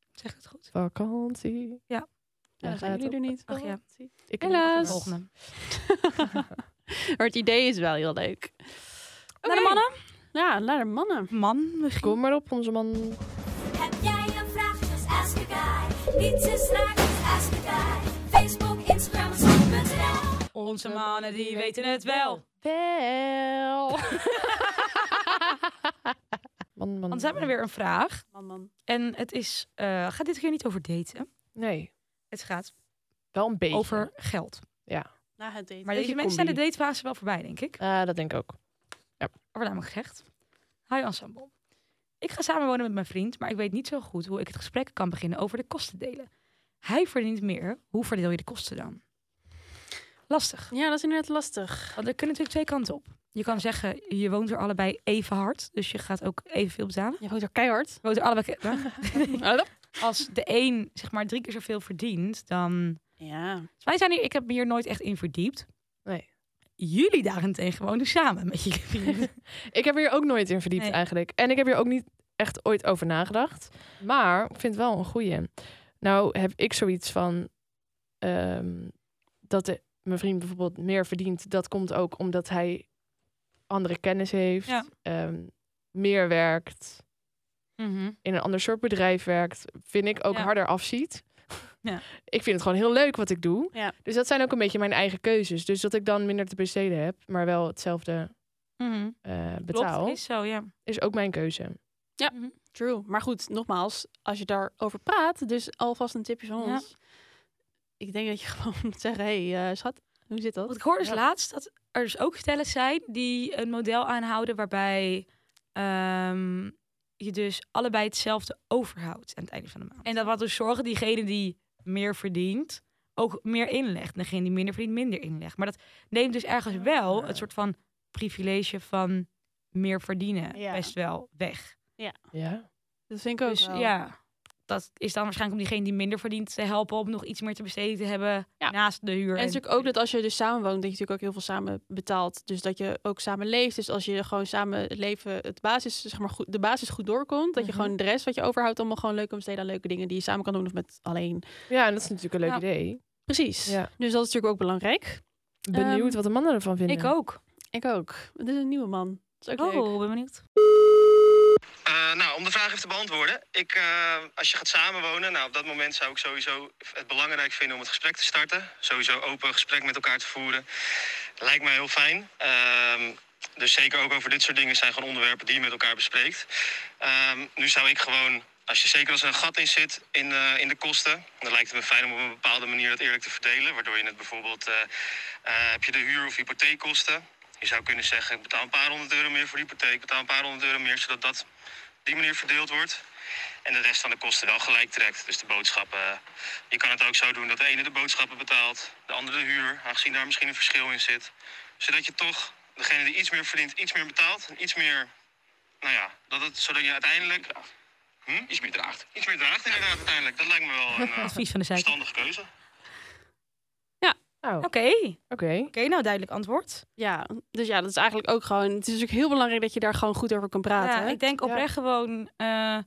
niet.
Zeg ik het goed?
Vakantie.
Ja.
Ja, dan
Daar
zijn
gaat
jullie
het
er niet. Oh,
Ach ja.
Ik
Helaas.
Volgende.
Volgende.
Maar het idee is wel heel leuk.
Naar de mannen.
Ja, naar de mannen.
Man, misschien.
Kom maar op, onze man.
Heb jij een vraag? Just ask a guy. Niets is raar, just ask a guy. Facebook, Instagram, Snap.nl.
Onze mannen, die weten het wel.
Wel. man, man.
Want ze hebben we weer een vraag.
Man, man.
En het is, eh, gaat dit keer niet over daten.
Nee,
Het gaat
wel een beetje.
over geld.
Na het daten.
Maar deze mensen zijn de datefase wel voorbij, denk ik.
Ah, dat denk ik ook.
Er wordt namelijk gezegd. Hi ensemble. Ik ga samenwonen met mijn vriend, maar ik weet niet zo goed hoe ik het gesprek kan beginnen over de kosten delen. Hij verdient meer. Hoe verdeel je de kosten dan? Lastig.
Ja, dat is inderdaad lastig.
Want er kunnen natuurlijk twee kanten op. Je kan zeggen, je woont er allebei even hard. Dus je gaat ook evenveel betalen.
Je woont er keihard.
Je woont er allebei... Als de een zeg maar drie keer zoveel verdient, dan
Ja.
Dus wij zijn hier, ik heb me hier nooit echt in verdiept.
Nee.
Jullie daarentegen wonen samen met je vrienden.
Ik heb hier ook nooit in verdiept
Nee.
eigenlijk. En ik heb hier ook niet echt ooit over nagedacht. Maar ik vind het wel een goeie. Nou heb ik zoiets van... ehm, dat de, mijn vriend bijvoorbeeld meer verdient. Dat komt ook omdat hij andere kennis heeft.
Ja.
ehm, meer werkt. in een ander soort bedrijf werkt, vind ik ook
Mhm. Ja.
harder afziet.
Ja.
Ik vind het gewoon heel leuk wat ik doe.
Ja.
Dus dat zijn ook een beetje mijn eigen keuzes. Dus dat ik dan minder te besteden heb, maar wel hetzelfde eh, betaal, Mhm.
Klopt,
is...
is zo, ja.
ook mijn keuze.
Ja, true. Maar goed, nogmaals, als je daarover praat, dus alvast een tipje van
Ja.
ons. Ik denk dat je gewoon moet zeggen, hé hey, eh, schat, hoe zit dat?
Want ik hoorde dus
Ja.
laatst dat er dus ook stellen zijn die een model aanhouden waarbij ehm, je dus allebei hetzelfde overhoudt aan het einde van de maand. En dat wat dus zorgen diegene die meer verdient ook meer inlegt. En degene die minder verdient minder inlegt. Maar dat neemt dus ergens wel het soort van privilege van meer verdienen
Ja.
best wel weg.
Ja.
Dat vind ik ook
Dus
wel.
ja, dat is dan waarschijnlijk om diegene die minder verdient te helpen om nog iets meer te besteden te hebben
Ja.
naast de huur.
En het is natuurlijk ook dat als je dus samen woont, dat je natuurlijk ook heel veel samen betaalt. Dus dat je ook samen leeft. Dus als je gewoon samen het leven, het basis, zeg maar goed, de basis goed doorkomt. Dat je
Mhm.
gewoon de rest wat je overhoudt, allemaal gewoon leuk om besteden aan leuke dingen die je samen kan doen of met alleen.
ja, en dat is natuurlijk een leuk
Ja.
idee.
Precies.
Ja.
Dus dat is natuurlijk ook belangrijk.
Benieuwd
Ehm,
wat de mannen ervan vinden.
Ik ook.
Ik ook. Het is een nieuwe man. Dat is ook leuk.
Oh, ben benieuwd.
Eh, nou, om de vraag even te beantwoorden. Ik, eh, als je gaat samenwonen, nou, op dat moment zou ik sowieso het belangrijk vinden om het gesprek te starten. Sowieso open gesprek met elkaar te voeren. Lijkt mij heel fijn. Ehm, dus zeker ook over dit soort dingen zijn gewoon onderwerpen die je met elkaar bespreekt. Ehm, nu zou ik gewoon, als je zeker als er een gat in zit in, eh, in de kosten, dan lijkt het me fijn om op een bepaalde manier dat eerlijk te verdelen. Waardoor je het bijvoorbeeld, eh, eh, heb je de huur- of hypotheekkosten. Je zou kunnen zeggen, ik betaal een paar honderd euro meer voor de hypotheek, ik betaal een paar honderd euro meer, zodat dat die manier verdeeld wordt. En de rest van de kosten wel gelijk trekt. Dus de boodschappen. Je kan het ook zo doen dat de ene de boodschappen betaalt, de andere de huur, aangezien daar misschien een verschil in zit. Zodat je toch degene die iets meer verdient, iets meer betaalt. En iets meer. Nou ja, dat het, zodat je uiteindelijk. Hm? Iets meer draagt. Iets meer draagt, inderdaad, uiteindelijk. Dat lijkt me wel een eh,
Advies van de zijkant.
verstandige keuze.
Oh, Oké.
Oké, oké, nou duidelijk antwoord.
Ja, dus ja, dat is eigenlijk ook gewoon. Het is natuurlijk heel belangrijk dat je daar gewoon goed over kan praten.
Ja, ik denk oprecht gewoon eh, nou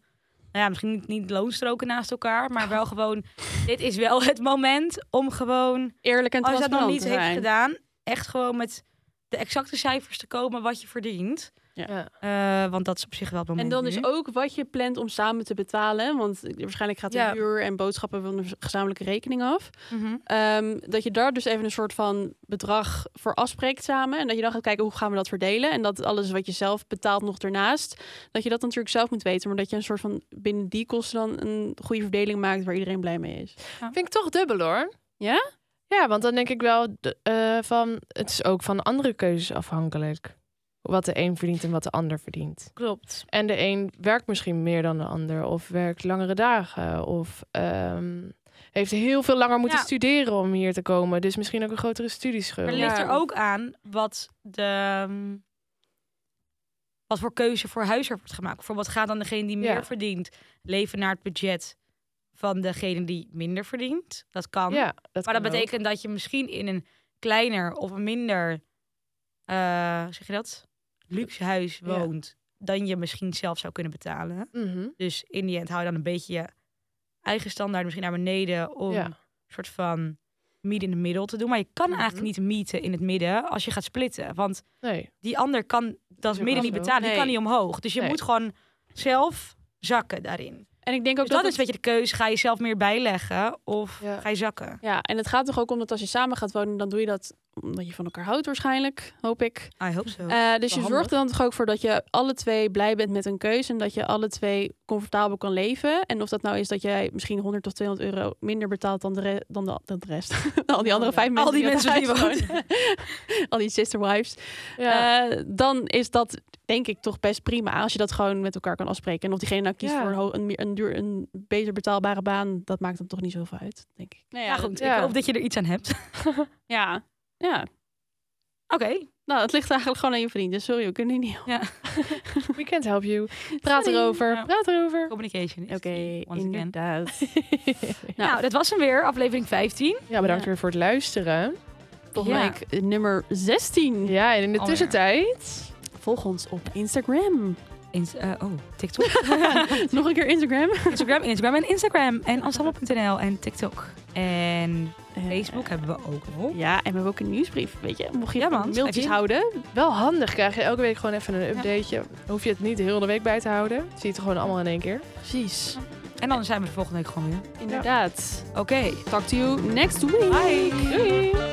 ja, misschien niet, niet loonstroken naast elkaar, maar wel gewoon, dit is wel het moment om gewoon,
Eerlijk en
als je dat nog
transparant
niet
te
heeft
zijn.
gedaan, echt gewoon met de exacte cijfers te komen wat je verdient.
Ja.
Ja.
Eh, want dat is op zich wel het moment
En dan
nu.
is ook wat je plant om samen te betalen. Want waarschijnlijk gaat de
Ja.
huur en boodschappen van de gezamenlijke rekening af.
Mhm.
Ehm, dat je daar dus even een soort van bedrag voor afspreekt samen. En dat je dan gaat kijken hoe gaan we dat verdelen. En dat alles wat je zelf betaalt nog daarnaast. Dat je dat natuurlijk zelf moet weten. Maar dat je een soort van binnen die kosten dan een goede verdeling maakt waar iedereen blij mee is.
Vind ik toch dubbel hoor.
Ja?
Ja, want dan denk ik wel d- eh, van het is ook van andere keuzes afhankelijk. Wat de een verdient en wat de ander verdient.
Klopt.
En de een werkt misschien meer dan de ander, of werkt langere dagen, of ehm, heeft heel veel langer moeten
Ja.
studeren om hier te komen. Dus misschien ook een grotere studieschuld.
Maar het
Ja.
ligt er ook aan wat de ehm, wat voor keuze voor huis er wordt gemaakt. Bijvoorbeeld gaat dan degene die meer
Ja.
verdient leven naar het budget van degene die minder verdient. Dat kan.
Ja, dat
maar
kan
dat
ook.
betekent dat je misschien in een kleiner of een minder eh, hoe zeg je dat luxe huis
Ja.
woont dan je misschien zelf zou kunnen betalen.
Mhm,
Dus in die end hou je dan een beetje je eigen standaard misschien naar beneden om
Ja.
een soort van meet in het middel te doen. Maar je kan eigenlijk niet meeten in het midden als je gaat splitten. Want
Nee.
die ander kan dat
ook
midden niet
wel zo.
betalen. Die kan
Nee.
niet omhoog. Dus je
Nee.
moet gewoon zelf zakken daarin.
En ik denk ook
Dus dat,
dat, het-
is weet je de keuze. Ga je zelf meer bijleggen of
Ja.
ga je zakken?
Ja, en het gaat toch ook om dat als je samen gaat wonen, dan doe je dat omdat je van elkaar houdt waarschijnlijk, hoop ik.
I hope so.
Eh, dus je
Oh, handig.
zorgt er dan toch ook voor dat je alle twee blij bent met een keuze en dat je alle twee comfortabel kan leven. En of dat nou is dat jij misschien 100 of 200 euro minder betaalt dan de, re- dan de, dan de rest. al die andere vijf
Oh, Al
mensen.
die
in het
mensen die
huis wonen. al die sister wives.
Ja.
Eh, dan is dat denk ik toch best prima als je dat gewoon met elkaar kan afspreken. En of diegene nou kiest
Ja.
voor een, ho- een, meer- een, duur, een beter betaalbare baan, dat maakt hem toch niet zoveel uit, denk ik. Nou
ja, goed.
ja.
Ik hoop dat je er iets aan hebt.
Ja. ja.
Oké.
Nou, het ligt eigenlijk gewoon aan je vrienden. Sorry, we kunnen hier niet helpen.
We can't help you. Praat erover.
Ja.
Praat erover.
Communication is
Oké,
key, once again.
inderdaad.
Nou, dat was hem weer. Aflevering 15.
Ja, bedankt
Ja.
weer voor het luisteren.
Volgende
Ja.
week eh, nummer 16.
Ja, en in de
Alweer.
tussentijd.
Volg ons op Instagram.
Ins- eh, oh, TikTok.
Nog een keer Instagram.
Instagram, Instagram en Instagram. En ensemble.nl en TikTok. En Facebook hebben we ook
Eh,
nog.
ja, en we hebben ook een nieuwsbrief. Weet je, mocht je
Ja, man,
van
schrijf
mailtjes
je in.
houden.
Wel handig, krijg je elke week gewoon even een updateje. Hoef je het niet heel de week bij te houden. Zie je het gewoon allemaal in één keer.
Precies.
En dan zijn we er volgende week gewoon weer.
Inderdaad.
Oké.
Talk to you next week.
Bye.
Doei.